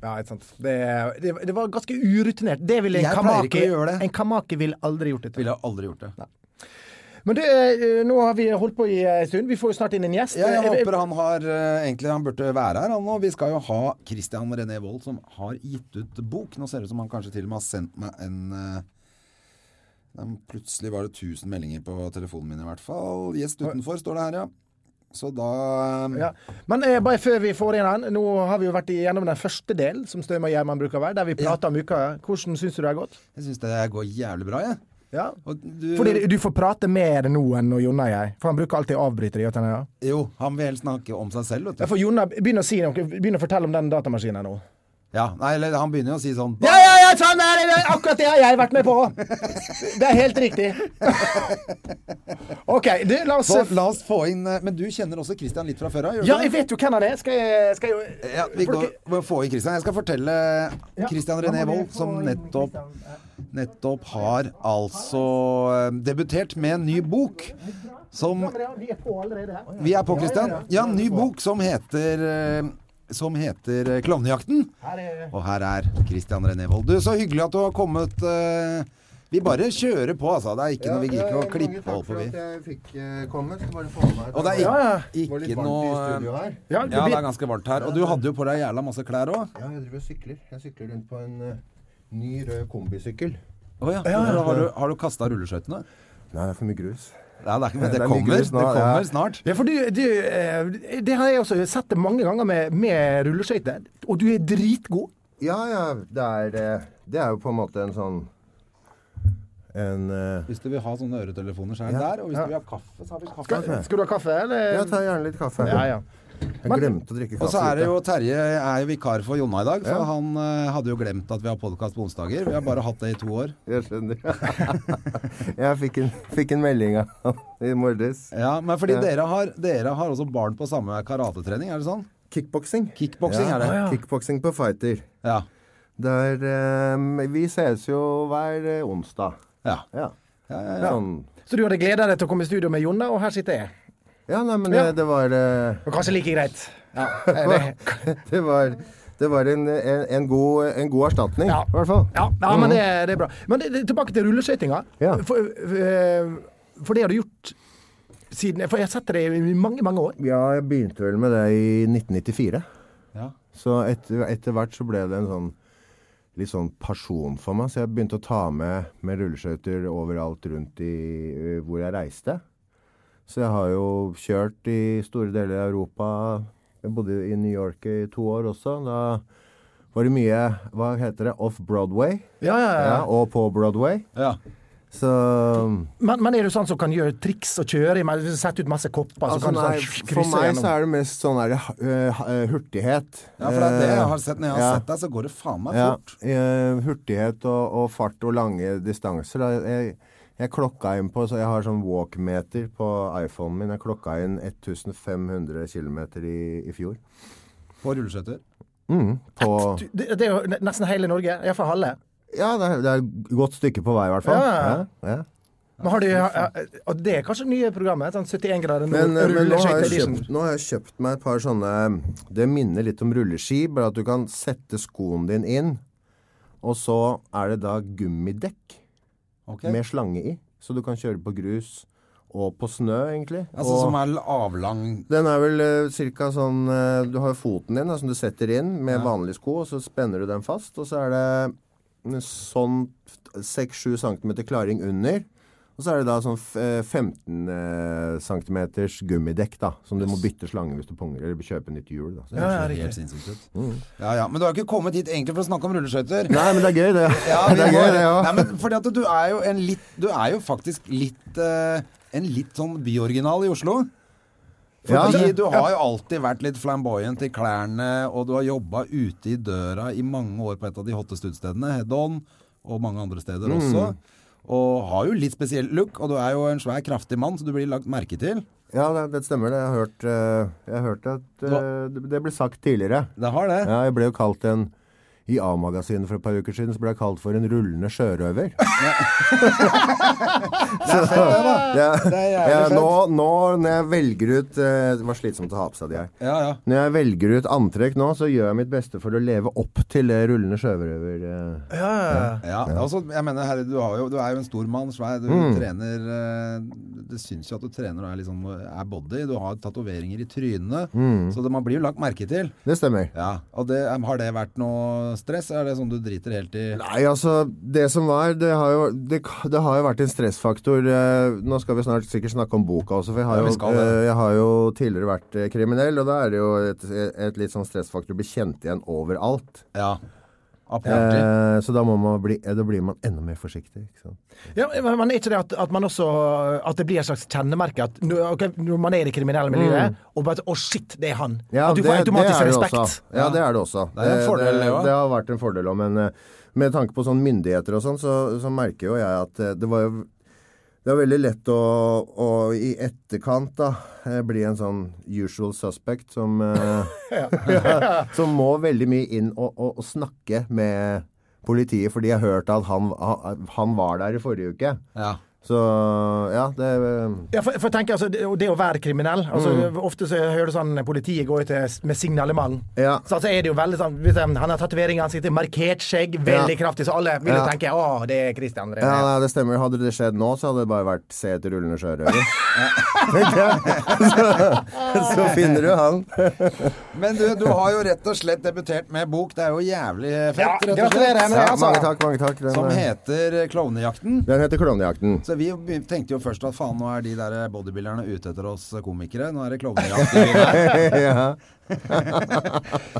Ja, ikke sant. Det, det, det var ganske urutinert. Det ville en
Jeg pleier ikke
kamaki
å gjøre det.
En kamaki ville aldri gjort det. til.
Ville aldri gjort det.
Men du, eh, nå har vi holdt på i eh, en stund. Vi får jo snart inn en gjest.
Ja, jeg
Eh, eh,
håper han har eh, Egentlig han burde være her, han nå. Vi skal jo ha Christian René Wold, som har gitt ut bok. Nå ser det ut som han kanskje til og med har sendt meg en eh, den- Plutselig var det 1000 meldinger på telefonen min, i hvert fall. Gjest utenfor, står det her, ja. Så da eh,
Ja. Men eh, bare før vi får inn han, nå har vi jo vært gjennom den første delen, som Støm og Gjerman bruker å være, der vi prater om uka. Hvordan syns du det har gått?
Jeg syns det går jævlig bra, jeg.
Ja.
Og du,
Fordi du får prate mer nå enn når Jonna og jeg, for han bruker alltid å avbryte det. gjør han ikke det?
Jo, han vil helst snakke om seg
Ja,
selv, vet du.
for Jonna begynner å si noe, begynner å fortelle om den datamaskinen nå.
Ja, nei, eller han begynner jo å si sånn
Ja, ja, ja, sånn er det! Akkurat det har jeg vært med på! Det er helt riktig. OK, du, la oss
Så la oss få inn eh, Men du kjenner også Christian litt fra før av? gjør du
Ja,
det?
jeg vet jo hvem han er. Skal jeg, skal jeg
Ja, vi går, må få inn Christian. Jeg skal fortelle
Ja,
Christian
da må
René
vi
Wold,
få
som
inn
nettopp, nettopp har altså eh, debutert med en ny bok. Som
Vi er på allerede her.
Vi er på, Christian. Ja, en ny bok som heter eh, som heter eh, Klovnejakten. Og her er Christian René Vold. Du, så hyggelig at du har kommet. eh, Vi bare kjører på, altså. Det er ikke noe vi gidder ikke å klippe og holde på, vi.
jeg fikk eh, komme. Skal bare få med meg
Og det
Ja,
er
ja.
ikke,
var litt
ikke
varmt i
noe eh,
studio her.
Ja,
Ja, det
blir-
er ganske varmt her. Og du hadde jo på deg jævla masse klær òg.
Ja, jeg driver og sykler. Jeg sykler rundt på en eh, ny rød kombisykkel.
Oh, ja. Har du, har du kasta rulleskøytene?
Nei, det er for mye grus.
Ja, det, er, ikke- men
Det
det
er mye
kommer. Det
grus nå, ja.
kommer snart.
Ja, for du, du eh, Det har jeg også sett det mange ganger med, med rulleskøyter, og du er dritgod.
Ja, ja. Det er, eh, det er jo på en måte en sånn En eh,
Hvis du vil ha sånne øretelefoner, så er den der. Og hvis du vil ha kaffe, så har vi kaffe.
Kaffe.
Skal du ha kaffe, eller?
Jeg tar gjerne litt kaffe.
Ja, ja.
Jeg glemte å drikke kaffe.
Og så er det
ute.
jo Terje er jo vikar for Jonna i dag, for
Ja.
han eh, hadde jo glemt at vi har podkast på onsdager. Vi har bare hatt det i to år.
Jeg skjønner. jeg fikk en, fikk en melding av han i morges.
Ja, Men fordi dere har, dere har også barn på samme karatetrening, er det sånn?
Kickboksing.
Kickboksing er det.
Ja, Kickboksing på Fighter.
Ja.
Der eh, Vi ses jo hver eh, onsdag.
ja.
Ja. Sånn.
Så du hadde gleda deg til å komme i studio med Jonna, og her sitter jeg.
Ja, nei, men
Ja.
eh, det var eh,
Og kanskje like greit. Ja, det-
det var, det var en, en, en, god, en god erstatning,
Ja.
i hvert fall.
ja, ja men det, det er bra. Men det, det, tilbake til rulleskøytinga.
Ja.
For, eh, for det har du gjort siden For jeg har sett det i mange, mange år.
Ja, jeg begynte vel med det i 1994.
Ja.
Så etter, etter hvert så ble det en sånn litt sånn pasjon for meg. Så jeg begynte å ta med, med rulleskøyter overalt rundt i, hvor jeg reiste. Så jeg har jo kjørt i store deler av Europa. Jeg bodde i New York i to år også. Da var det mye Hva heter det? Off-Broadway.
Ja, ja, ja.
Ja, og på Broadway.
ja.
Så
Men, men er du sånn som kan gjøre triks og kjøre i men Sette ut masse kopper, så
altså,
kan du
nei,
sånn
For
krysse
meg
gjennom?
så er det mest sånn der, eh, ha- eh, hurtighet.
Ja, for det er det jeg
Eh,
har sett. Når jeg
ja.
har sett deg, så går det faen meg
Ja,
fort.
eh, hurtighet og, og fart og lange distanser. da. Jeg, jeg klokka inn på, så jeg har sånn walkmeter på iPhonen min. Jeg klokka inn 1500 km i, i fjor.
På rulleskøyter.
På,
Du, Det, det er jo ne- nesten hele Norge, iallfall halve.
ja, det er, det er et godt stykke på vei i hvert fall.
Ja.
Ja, ja.
Men har du, eh, og det er kanskje det nye programmet? Sånn 71 grader nord,
Men, eh, men nå, har jeg
rulleskøyte-edition.
kjøpt, nå har jeg kjøpt meg et par sånne Det minner litt om rulleski, bare at du kan sette skoen din inn, og så er det da gummidekk
Ok.
med slange i. Så du kan kjøre på grus og på snø, egentlig.
Altså
og
som er avlang
den er vel ca. sånn eh, Du har foten din da, som du setter inn med vanlige sko, og så spenner du den fast, og så er det en sånn 6-7 cm klaring under. Og så er det da sånn f- eh, 15 cm gummidekk, da, som du må bytte slange hvis du punger, eller kjøpe nytt hjul. da. Så-
Det ser helt sinnssykt ut. Ja, ja. Men du har ikke kommet hit egentlig for å snakke om rulleskøyter.
Nei, men det er gøy, det.
Ja, vi
det er
må-
gøy, det òg.
Nei, men fordi at du er jo en litt Du er jo faktisk litt eh, En litt sånn byoriginal i Oslo.
Ja,
Fordi
det-
du har jo alltid vært litt flamboyant i klærne, og du har jobba ute i døra i mange år på et av de hotteste utestedene, Head On, og mange andre steder
Mm.
også. Og har jo litt spesiell look, og du er jo en svær, kraftig mann, så du blir lagt merke til.
Ja, det, det stemmer, det. Jeg har hørt, eh, jeg har hørt at eh, det, det ble sagt tidligere.
Det har det.
Ja, jeg ble jo kalt en I A-magasinet for et par uker siden så ble jeg kalt for en rullende sjørøver. Så- Ja,
jævlig
ja,
fett.
nå, nå når jeg velger ut eh, Det var slitsomt å ha på seg de her.
Ja, ja.
Når jeg velger ut antrekk nå, så gjør jeg mitt beste for å leve opp til det rullende sjørøver... eh.
Ja, altså, jeg mener, herre, du, har jo, du er jo en stor mann, svær, du
Mm.
trener eh, Det syns jo at du trener og er, litt sånn, er body. Du har tatoveringer i trynet,
Mm.
så det, man blir jo lagt merke til.
Det stemmer.
Ja, og det, Har det vært noe stress? Er det sånn du driter helt i
Nei, altså, det som var, det har jo, det, det har jo vært en stressfaktor. eh, Nå skal vi snart sikkert snakke om boka også, for jeg har,
Ja, vi
jo,
skal det.
eh, jeg har jo tidligere vært eh, kriminell, og da er det jo et, et litt sånn stressfaktor å bli kjent igjen overalt.
Ja. Apparently.
Eh, så da, må man bli, eh, da blir man enda mer forsiktig. Ikke sant?
Ja, men men er ikke det at, at man også At det blir et slags kjennemerke at nå- ok, når man er i det kriminelle miljøet, og bare Å, shit, det er han. at du får automatisk
er Mm. det
respekt.
Også. Ja, det er det også.
Det er en fordel, det
det,
også.
det har vært en fordel òg, men eh, med tanke på sånn myndigheter og sånn, så, så merker jo jeg at eh, det var jo det er veldig lett å, å i etterkant da, eh, bli en sånn usual suspect som, eh, som må veldig mye inn og, og, og snakke med politiet, for de har hørt at han, han var der i forrige uke.
Ja.
Så ja, det eh,
Ja, for, for jeg tenker, altså, det, og det å være kriminell altså,
Mm.
Ofte så hører du sånn politiet går ut til- med signalement.
Ja.
Så altså, er det jo veldig sånn hvis, um, Han har tatovering i ansiktet, markert skjegg, veldig kraftig, så alle vil jo
Ja.
tenke å, det er Christian René.
Ja, nei, det stemmer. Hadde det skjedd nå, så hadde det bare vært se etter rullende sjørøver. Tenker jeg. så, så finner du han.
Men du, du har jo rett og slett debutert med bok. Det er jo jævlig
Ja,
fett, rett og
gratulerer
slett.
med det,
Ja,
altså.
mange takk, mange takk. Den,
Som
eh,
heter Klovnejakten.
den heter Klovnejakten.
Så vi be- tenkte jo først at faen, nå er de der bodybuilderne ute etter oss komikere. Nå er det klovnejakt. i byen her.
ja.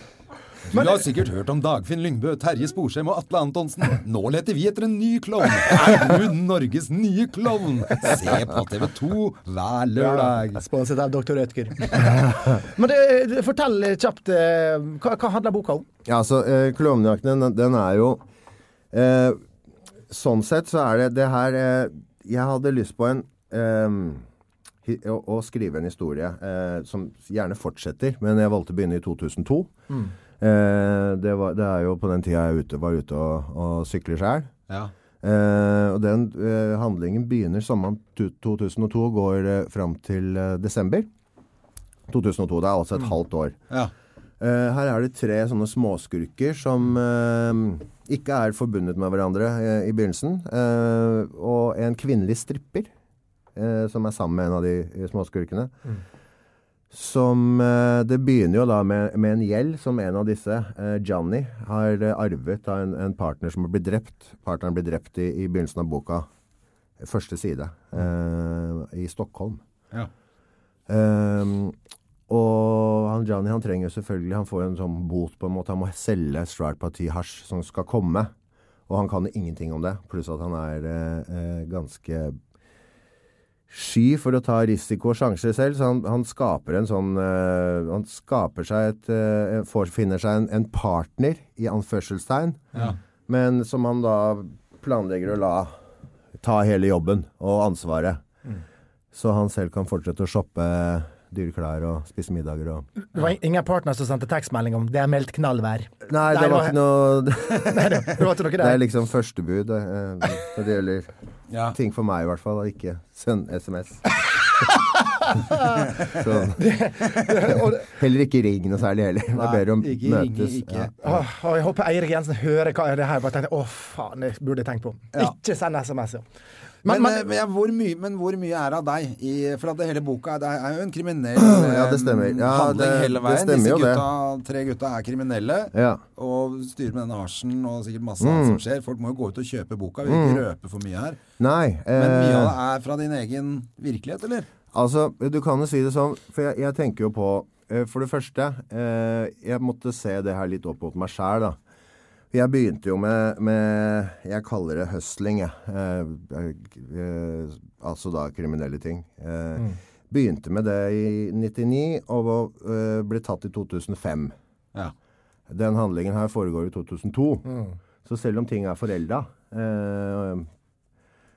Du har sikkert hørt om Dagfinn Lyngbø, Terje Sporsem og Atle Antonsen. Nå leter vi etter en ny klovn. Er du Norges nye klovn? Se på TV 2 hver lørdag.
Sponset av Dr. Rødker. Men det, fortell kjapt, eh, hva, hva handler boka om?
Ja, altså, eh, Klovnejakten, den, den er jo eh, Sånn sett så er det det her eh, Jeg hadde lyst på en eh, hi- å, å skrive en historie eh, som gjerne fortsetter, men jeg valgte å begynne i 2002. Eh, det, var, det er jo på den tida jeg ute, var ute og, og sykler sjæl.
Ja.
Eh, og den eh, handlingen begynner sommeren tu- 2002 og går eh, fram til eh, desember 2002. Det er altså et halvt år.
Ja.
Eh, her er det tre sånne småskurker som eh, ikke er forbundet med hverandre eh, i begynnelsen. eh, og en kvinnelig stripper eh, som er sammen med en av de eh, småskurkene. Som eh, Det begynner jo da med, med en gjeld som en av disse, eh, Johnny, har eh, arvet av en, en partner som blir drept. Partneren blir drept i, i begynnelsen av boka. Første side. eh, I Stockholm.
Ja.
Ehm, og han Johnny han trenger jo selvfølgelig Han får en sånn bot på en måte. Han må selge et svært parti hasj som skal komme. Og han kan jo ingenting om det. Pluss at han er eh, eh, ganske sky for å ta risiko og sjanser selv. Så han, han skaper en sånn eh, Han skaper seg et eh, får, Finner seg en, en partner, i anførselstegn, men som han da planlegger å la ta hele jobben og ansvaret. Så han selv kan fortsette å shoppe dyre klær og spise middager og
Det var ingen partner som sendte tekstmelding om 'det er meldt knallvær'.
Nei, det
nå-
var ikke noe
Nei, det det var ikke noe
Det er
der.
liksom førstebud eh, når det gjelder
Ja.
ting for meg, i hvert fall. å Ikke send SMS. Så, heller ikke ring noe særlig heller. Jeg ber om
Nei, ikke ringe,
møtes.
ikke-
Ja.
Åh, og jeg håper Eirik Jensen hører hva det her bare tenkte, Å, faen, det burde jeg tenkt på.
Ja.
Ikke send SMS, ja.
Men,
Men, men,
eh, men, ja, hvor mye, men hvor mye er av deg? I, for at det hele boka det er jo en kriminell
Ja, det stemmer.
eh,
Ja,
handling
det-
hele
det
veien.
stemmer
Disse
jo det.
gutta, tre gutta er kriminelle
Ja. Mm.
og styrer med denne hasjen og sikkert masse annet som skjer. Folk må jo gå ut og kjøpe boka. Vi vil ikke røpe for mye her.
Nei.
Men mye av
eh,
det er fra din egen virkelighet, eller?
Altså, du kan jo si det sånn, for jeg, jeg tenker jo på eh, For det første, eh, jeg måtte se det her litt opp mot meg sjæl, da. Jeg begynte jo med, med Jeg kaller det hustling, jeg. Eh, eh, eh, altså da kriminelle ting. Eh, Begynte med det i 99 og eh, ble tatt i 2005.
Ja.
Den handlingen her foregår i 2002. Så selv om ting er forelda, eh,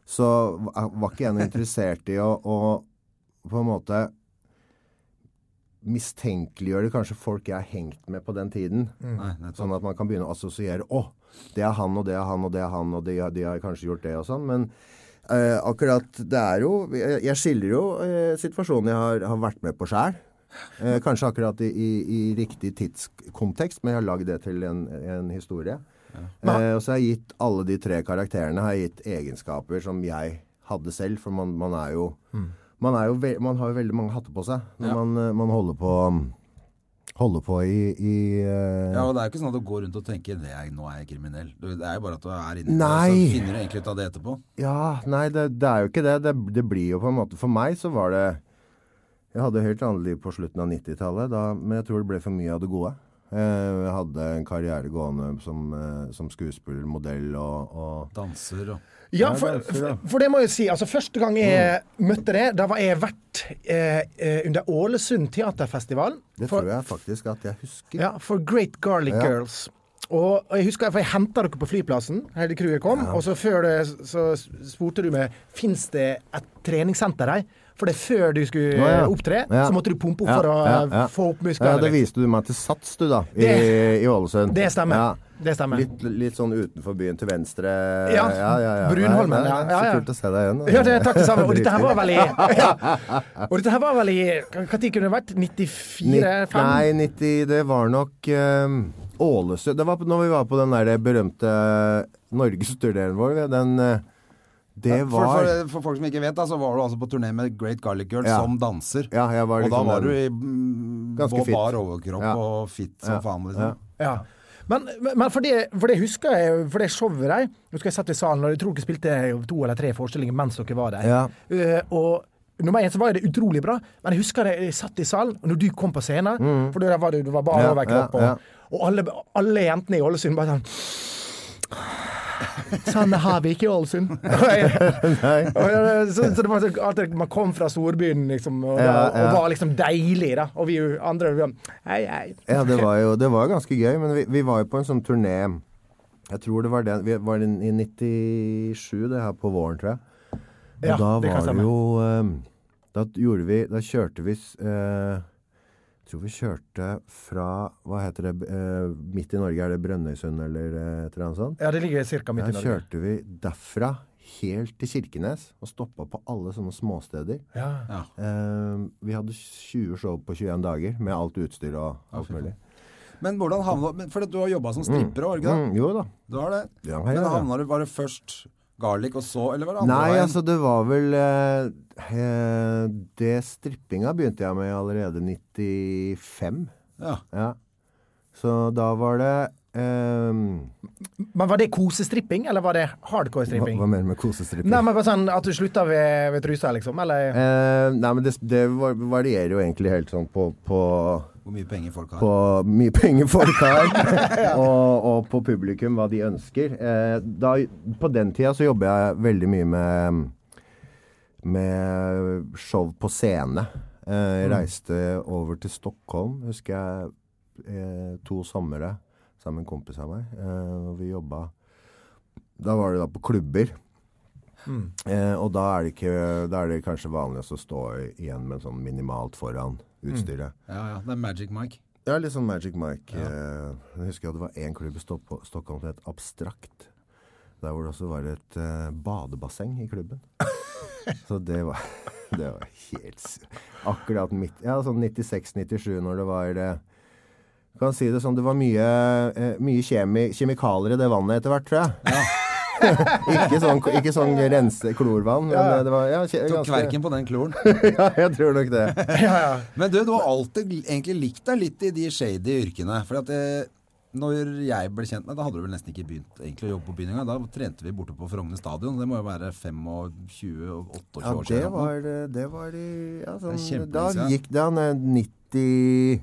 så va- var ikke jeg noe interessert i å, å på en måte mistenkeliggjøre kanskje folk jeg har hengt med på den tiden.
Nei, nettopp.
Sånn at man kan begynne å assosiere Å, det er han, og det er han, og det er han, og de, har- de har kanskje gjort det og sånn. Men eh, akkurat det er jo Jeg, jeg skildrer jo eh, situasjonen jeg har, har vært med på sjæl. Eh, kanskje akkurat i, i, i riktig tidskontekst, men jeg har lagd det til en, en historie. Eh, og så har jeg gitt alle de tre karakterene har jeg gitt egenskaper som jeg hadde selv, for man, man er jo
Mm.
man, er jo ve man har jo veldig mange hatter på seg når man, eh, man holder på Holder på i, i eh,
Ja, og Det er jo ikke sånn at du går rundt og tenker det er, 'nå er jeg kriminell'. Du- Det er jo bare at du er inni det,
Nei.
og så finner du egentlig ut av det etterpå.
Ja, nei, det, det er jo ikke det. det. Det blir jo på en måte For meg så var det Jeg hadde helt annet liv på slutten av 90-tallet, da- men jeg tror det ble for mye av det gode. Eh, Jeg hadde en karriere gående som, eh, som skuespiller, modell og, og
Danser og
ja for, for- for det må jeg si. Altså, første gang jeg
Mm.
møtte det, da var jeg vert eh, eh, under Ålesund teaterfestival.
Det
For-
tror jeg faktisk at jeg husker.
Ja, for Great Garlic
Ja.
Girls. Og, og jeg husker, for jeg henta dere på flyplassen, hele crewet kom, og så før det så spurte du meg fins det et treningssenter her. For det er før du skulle
Å, ja.
eh, opptre,
Ja.
så måtte du pumpe opp
Ja,
for å
ja, ja.
eh, få opp
Ja,
musklene.
det
litt.
viste du meg til Sats, du, da. I,
Det-
i Ålesund.
det stemmer.
Ja.
Det stemmer.
Litt, litt sånn utenfor byen til venstre.
Ja, Brunholmen,
Nei, nei,
ja, ja,
Så
ja.
kult å se deg igjen. da.
Ja, det, takk det samme. Og dette her
Dritkult.
var vel i ja. Og dette her var vel i Når kunne det vært? 94-5?
Nei, 90 Det var nok ehm, Ålesund Det var på- når vi var på den der berømte norgesturneren vår. Den eh, Det
For,
var
for, for folk som ikke vet, da, så var du altså på turné med Great Garlic Girl
Ja.
som danser.
Ja, jeg var
og da
liksom
var
den-
du i mm,
Ganske
på
fit.
bar overkropp
Ja.
og fit som faen, liksom.
Ja. Men, men for, det, for det husker jeg, for det showet der Husker jeg satt i salen, og jeg tror dere spilte to eller tre forestillinger mens dere var der.
Ja.
Eh, og nummer én så var det utrolig bra, men jeg husker jeg, jeg satt i salen, og når du kom på scenen For da var du, du var bar
Mm. Ja,
overkropp,
ja, ja.
og, og alle, alle jentene i Ålesund bare sånn Sånn har vi ikke i Ålesund. Og jeg-
Nei.
og jeg- så, så det var sånn at man kom fra storbyen, liksom, og,
Ja, ja.
og var liksom deilig, da. Og vi andre vi var Hei, hei.
Ja, det var jo det var ganske gøy, men vi, vi var jo på en sånn turné Jeg tror det var den vi var den i 97, det her på våren, tror jeg. Og
Ja,
da
det kan
var
stemme.
det jo eh, Da gjorde vi Da kjørte vi eh, Jeg tror vi kjørte fra Hva heter det eh, Midt i Norge, er det Brønnøysund eller eh, et eller annet sånt?
Ja, det ligger ca. midt i
Da
Norge.
kjørte vi derfra helt til Kirkenes og stoppa på alle sånne småsteder. Eh, vi hadde 20 show på 21 dager med alt utstyr og alt mulig.
Men hvordan havna men- For du har jobba som stripper òg, ikke sant?
Mm, jo da.
Du har det.
Ja, ja,
Men
ja.
havna du bare først garlic, og så Eller var det andre
Nei,
veien?
altså det var vel eh, eh, Det strippinga begynte jeg med allerede 95.
Ja.
Ja. Så da var det eh,
Men var det kosestripping, eller var det hardcore
hva,
stripping?
hva mer med kosestripping?
Nei, men bare sånn at du slutta ved, ved trusa, liksom? Eller
Eh, nei, men det, det var- varierer jo egentlig helt sånn på, på,
Hvor mye penger folk har.
på mye penger folk har, og, og på publikum, hva de ønsker. Eh, da, på den tida så jobba jeg veldig mye med, med show på scene. Eh,
Mm.
jeg reiste over til Stockholm, husker jeg, eh, to somre sammen med en kompis av meg. Eh, og vi jobba Da var det da på klubber.
Mm.
Eh, og da er, det ikke, da er det kanskje vanligst å stå igjen med sånn minimalt foran
Mm.
utstyret.
Ja, ja. Det er Magic Mike.
Ja, litt sånn Magic Mike. eh, Jeg husker at det var én klubb i Stopp- Stockholm som het Abstrakt. Der hvor det også var et eh, badebasseng i klubben. Så det var, det var helt s- Akkurat midt Ja, sånn 96-97 når det var eh, Kan si det sånn, det var mye, eh, mye kjemi, kjemikalier i det vannet etter hvert, tror jeg. ikke, sånn, ikke sånn rense klorvann, men eh, det var ja, kje-
Tok
ganske-
kverken på den kloren.
Ja, jeg tror nok det.
Men du, du har alltid egentlig likt deg litt i de shady yrkene. For at eh, når jeg ble kjent med deg, da hadde du vel nesten ikke begynt egentlig å jobbe på byen engang. Da trente vi borte på Frogner stadion. Det må jo være 25-28
Ja,
år
det
siden.
var, det var i ja,
Det
sånn,
er kjempelenge
Da
siden.
gikk det han eh, 90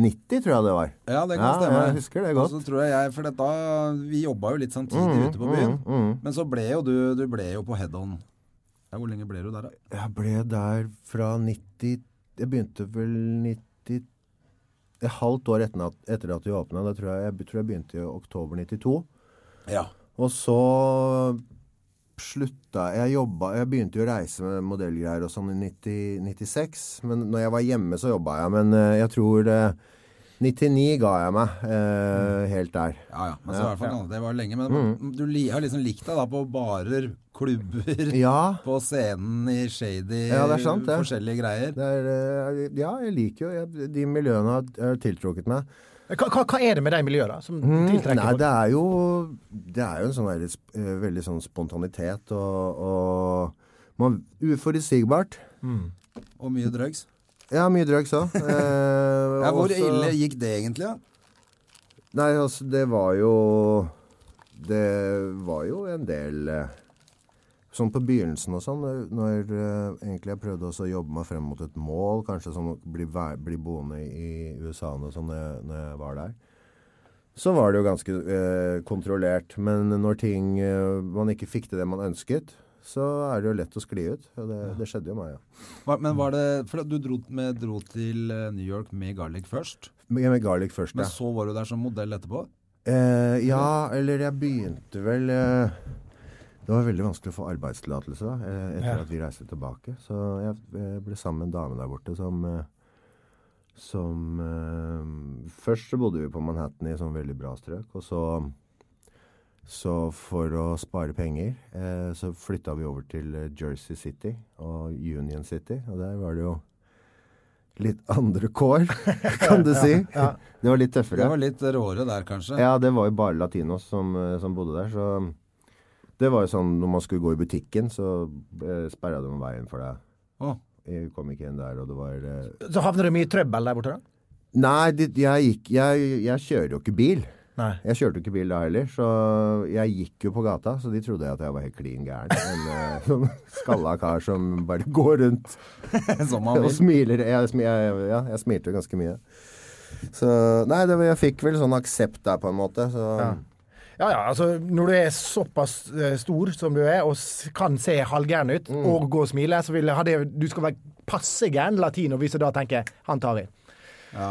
90, tror jeg det var.
Ja, det kan stemme.
jeg husker det godt. Mm,
Og så tror jeg jeg, for dette, Vi jobba jo litt samtidig ute på byen. Men så ble jo du Du ble jo på head-on. Ja, hvor lenge ble du der, da?
Jeg ble der fra 90 Jeg begynte vel 90 Et halvt år etter at, etter at vi åpna. Jeg, jeg tror jeg begynte i oktober 92.
Ja.
Og så slutta Jeg jobba Jeg begynte jo å reise med modellgreier og sånn i 90, 96. Men når jeg var hjemme, så jobba jeg. Men eh, jeg tror eh, 99 ga jeg meg eh, helt der.
Ja, ja. Men så i hvert fall, Det var lenge. Men
Mm.
du li, har liksom likt deg da på barer, klubber
Ja.
På scenen i shady
Ja, det er sant, det.
forskjellige greier.
Det er, eh, ja, jeg liker jo jeg, De miljøene har, har tiltrukket meg.
hva, hva, hva er det med de miljøene da, som tiltrekker
Mm, Nei,
folk?
det er jo Det er jo en sånn der, eh, veldig sånn spontanitet og, og man, Uforutsigbart.
Og mye drugs.
Ja, mye drugs òg. Eh,
Ja, hvor
også-
ille gikk det egentlig? da?
Nei, altså, det var jo Det var jo en del eh, Sånn på begynnelsen og sånn, når, når eh, egentlig jeg prøvde også å jobbe meg frem mot et mål, kanskje sånn å bli, væ- bli boende i USA og sånn når, jeg- når jeg var der, så var det jo ganske eh, kontrollert. Men når ting eh, Man ikke fikk til det man ønsket, så er det jo lett å skli ut. Og det, det skjedde jo meg, ja.
Hva- Men var det For du dro, med, dro til eh, New York med garlic først,
Med, med garlic først,
men
ja.
så var du der som modell etterpå?
Eh, ja, eller jeg begynte vel eh, Det var veldig vanskelig å få arbeidstillatelse da, eh, etter
Ja.
at vi reiste tilbake. Så jeg jeg ble sammen med en dame der borte som eh, som eh, Først så bodde vi på Manhattan i et sånn veldig bra strøk, og så så for å spare penger eh, så flytta vi over til eh, Jersey City og Union City, og der var det jo litt andre kår, kan du si. Det var litt tøffere.
Det var litt råere der, kanskje.
Ja, det var jo bare latinos som, eh, som bodde der, så det var jo sånn når man skulle gå i butikken, så eh, sperra de veien for deg.
Å.
Jeg kom ikke inn der, og det var eh,
Så havner du mye i trøbbel der borte, da?
Nei, det, jeg gikk jeg, jeg kjører jo ikke bil.
Nei.
Jeg kjørte jo ikke bil da heller, så jeg gikk jo på gata, så de trodde at jeg var helt klin gæren. En eh, sånn skalla kar som bare går rundt
Som man
og
vil.
smiler. Jeg, smi- jeg, ja, jeg smilte jo ganske mye. Så Nei, det, var- jeg fikk vel sånn aksept der, på en måte. Så
Ja, ja, altså Når du er såpass eh, stor som du er, og s- kan se halvgæren ut, og gå og smile, så vil jeg ha det Du skal være passe gæren latino hvis du da tenker 'han tar i'.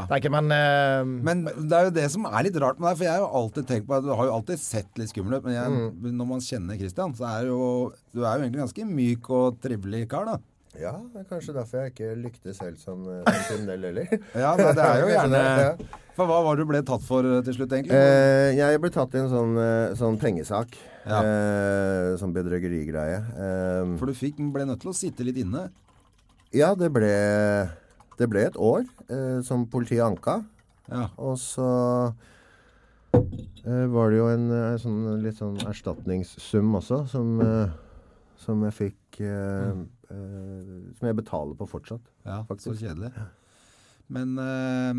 Tenker, men eh,
Men det er jo det som er litt rart med deg, for jeg har jo alltid tenkt på at du har jo alltid sett litt skummel ut, men jeg,
Mm.
når man kjenner Christian, så er jo du er jo egentlig ganske myk og trivelig kar, da.
Ja, det er kanskje derfor jeg ikke lyktes helt som, eh, som kriminell heller.
Ja, nei, det er jo
Kanskje
gjerne
det,
For hva var det du ble tatt for eh, til slutt, egentlig?
Eh, jeg ble tatt i en sånn, eh, sånn pengesak.
Ja.
Eh, sånn bedrøverigreie. Eh,
For du fikk, ble nødt til å sitte litt inne.
ja, det ble, det ble et år eh, som politiet anka.
Ja.
Og så eh, var det jo en eh, sånn, litt sånn erstatningssum også, som, eh, som jeg fikk eh, eh, Som jeg betaler på fortsatt.
Ja,
Faktisk.
så kjedelig. Men eh,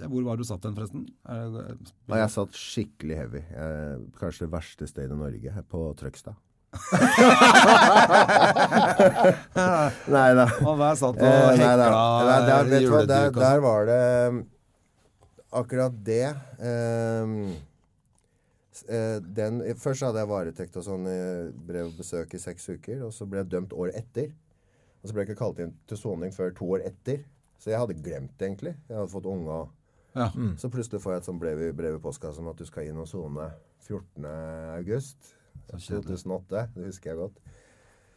ja, hvor var du satt den, forresten? Er det,
Og jeg satt skikkelig heavy. Eh, kanskje det verste stedet i Norge, her på Trøgstad. nei da.
og der satt og
Eh, nei,
hekla
da. Nei, der, vet du hva, der,
juleduk og
der
sånn.
var det um, Akkurat det um, s- eh, den, Først så hadde jeg varetekt og sånn eh, brev og besøk i seks uker, og så ble jeg dømt året etter. Og så ble jeg ikke kalt inn til soning før to år etter. Så jeg hadde glemt det, egentlig. Jeg hadde fått unge og
Ja.
så plutselig får jeg et sånt brev, i- brev i postkassa om at du skal inn og sone 14. august
kjedelig.
2008. Det husker jeg godt.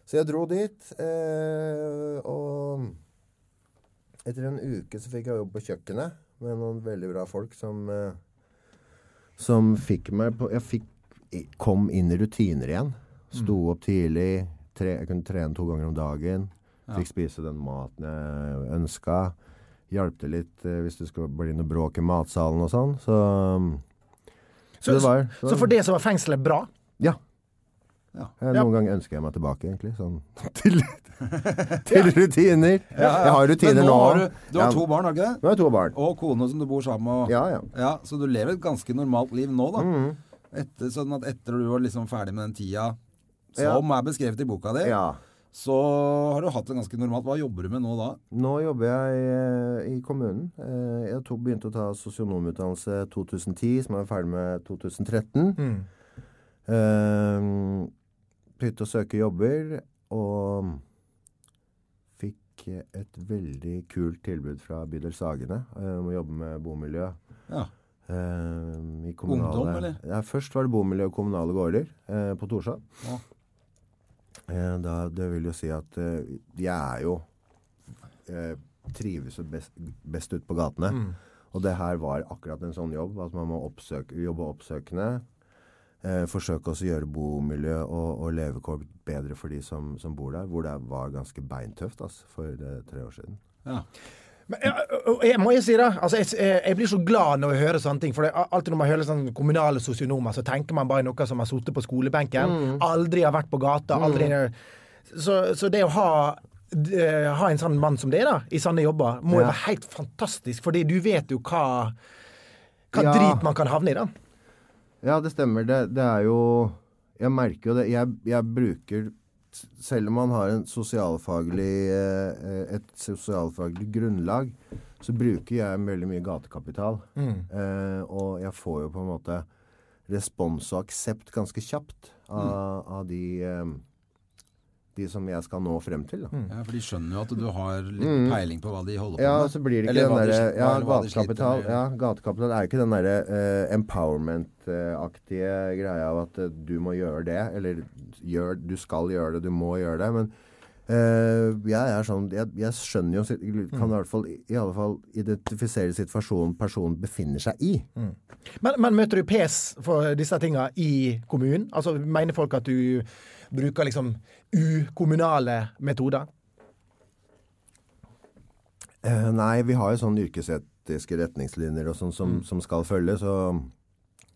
Så jeg dro dit, eh, og etter en uke så fikk jeg jobb på kjøkkenet med noen veldig bra folk som, eh, som fikk meg på Jeg fikk, i- kom inn i rutiner igjen.
Mm.
Sto opp tidlig. Tre, jeg kunne trene to ganger om dagen. Fikk spise den maten jeg ønska hjalp det litt eh, hvis det skulle bli noe bråk i matsalen og sånn. Så, um, så, det var, det var-
Så for det så var fengselet bra?
Ja.
Ja.
Eh, Noen ganger ønsker jeg meg tilbake, egentlig. Sånn til, til rutiner. Jeg har rutiner
Men
nå.
Har du, du har
Ja,
to barn, har du ikke det?
Nå har jeg to barn.
Og kone som du bor sammen med. og-
Ja, Mm. ja.
Så du lever et ganske normalt liv nå, da. Etter, sånn at etter du var liksom ferdig med den tida som er beskrevet i boka di,
Ja.
så har du hatt det ganske normalt. Hva jobber du med nå da?
Nå jobber jeg eh, i kommunen. Eh, Jeg tok, begynte å ta sosionomutdannelse 2010, som jeg var ferdig med 2013. Eh, begynte å søke jobber, og fikk et veldig kult tilbud fra Bydel Sagene eh, om å jobbe med bomiljø.
Ja.
Eh, i kommunale,
Ungdom, eller?
Ja, først var det bomiljø og kommunale gårder eh, på Torshov.
Ja.
Eh, da, det vil jo si at eh, jeg er jo eh, trives jo best, best ut på gatene.
Mm.
Og det her var akkurat en sånn jobb, at man må oppsøke, jobbe oppsøkende. Eh, forsøke også å gjøre bomiljø og, og levekår bedre for de som, som bor der, hvor det var ganske beintøft altså, for eh, tre år siden.
ja.
Men, ja, og jeg, må jeg si det? Altså, jeg, jeg, jeg blir så glad når jeg hører sånne ting. For det, er alltid når man hører sånne kommunale sosionomer, så tenker man bare noe som har sittet på skolebenken. Aldri har vært på gata. Aldri, så, så det å ha eh, ha en sånn mann som det da, i sånne jobber, må jo være helt fantastisk. Fordi du vet jo hva, hva
Ja.
drit man kan havne i. da.
Ja, det stemmer. Det, det er jo Jeg merker jo det. Jeg, jeg bruker Selv om man har en sosialfaglig, eh, et sosialfaglig grunnlag, så bruker jeg veldig mye gatekapital. Eh, og jeg får jo på en måte respons og aksept ganske kjapt av, av de eh, de som jeg skal nå frem til. Da.
Ja, for de skjønner jo at du har litt peiling på hva de holder på
Mm. Ja,
med.
så blir det ikke
Eller hva
den
de
derre
sliter-
ja,
eller hva de sliter
gatekapital.
med.
Ja, gatekapital er jo ikke den derre eh, empowerment-aktige greia av at eh, du må gjøre det, eller gjør, du skal gjøre det, du må gjøre det. Men eh, jeg er sånn jeg, jeg skjønner jo sit-
Mm.
Kan i hvert fall, i alle fall identifisere situasjonen personen befinner seg i.
Men, men møter du pes for disse tinga i kommunen? Altså, Mener folk at du bruker liksom ukommunale metoder?
Eh, nei, vi har jo sånne yrkesetiske retningslinjer og sånn som, som skal følges. Og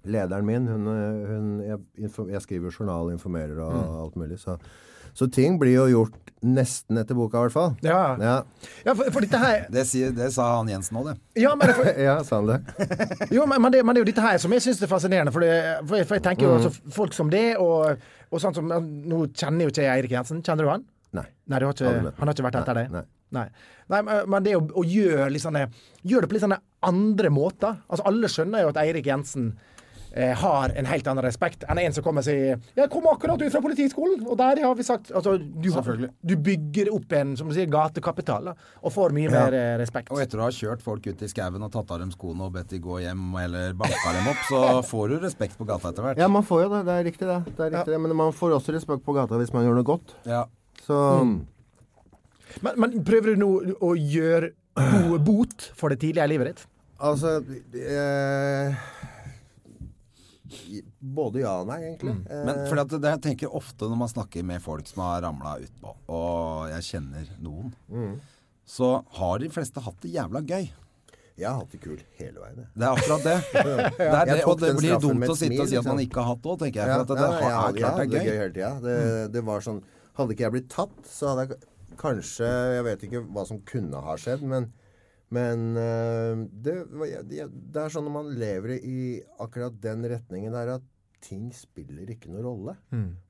lederen min, hun, eh, hun jeg, info- jeg skriver jo journal, informerer og alt mulig. Så, så ting blir jo gjort nesten etter boka, i hvert fall.
Ja.
Ja,
Ja, for, for dette her
Det, sier, det sa han Jensen òg, det.
Ja, men, for,
ja sa han det?
jo, men, men, det, men det er jo dette her som jeg syns er fascinerende. For, det, for, jeg, for jeg
Mm.
tenker jo altså, folk som det, og, og sånn som Nå kjenner jo ikke jeg Eirik Jensen. Kjenner du han?
Nei.
Nei, du har ikke,
Aldri møtt
han har ikke vært etter
Nei,
det?
nei.
Nei. Nei, men- men det å, å gjøre litt sånne, gjør det på litt sånne andre måter. Altså, alle skjønner jo at Eirik Jensen eh, har en helt annen respekt enn en som kommer og sier 'Jeg kom akkurat ut fra Politihøgskolen', og der har vi sagt altså, du, har,
Selvfølgelig.
du bygger opp en som du sier, gatekapital da, og får mye mer eh, respekt.
Og etter å ha kjørt folk ut i skauen og tatt av dem skoene og bedt de gå hjem eller banka dem opp, så får du respekt på gata etter hvert.
Ja, man får jo det. Det er riktig, det. det, er riktig, det. Men man får også respekt på gata hvis man gjør noe godt.
Ja.
Så
Men, men prøver du nå å gjøre god bot for det tidligere i livet ditt?
Altså eh, Både ja og nei, egentlig. Eh,
Men for at det jeg tenker ofte når man snakker med folk som har ramla utpå, og jeg kjenner noen,
Mm.
så har de fleste hatt det jævla gøy.
Jeg har hatt det kult hele veien. jeg.
Det er akkurat det. det, er det
Jeg tok
og det
den
blir
straffen
dumt
med
å
et
sitte og si
smil,
at man
liksom.
ikke har hatt det òg, tenker jeg.
Ja,
For at det,
nei,
det,
jeg
er
hadde- jeg hadde
klart det er gøy.
hele tida. Det, det var sånn Hadde ikke jeg blitt tatt, så hadde jeg k- kanskje Jeg vet ikke hva som kunne ha skjedd, men men øh, det, var- jeg- jeg- det er sånn når man lever i akkurat den retningen der at ting spiller ikke noen rolle.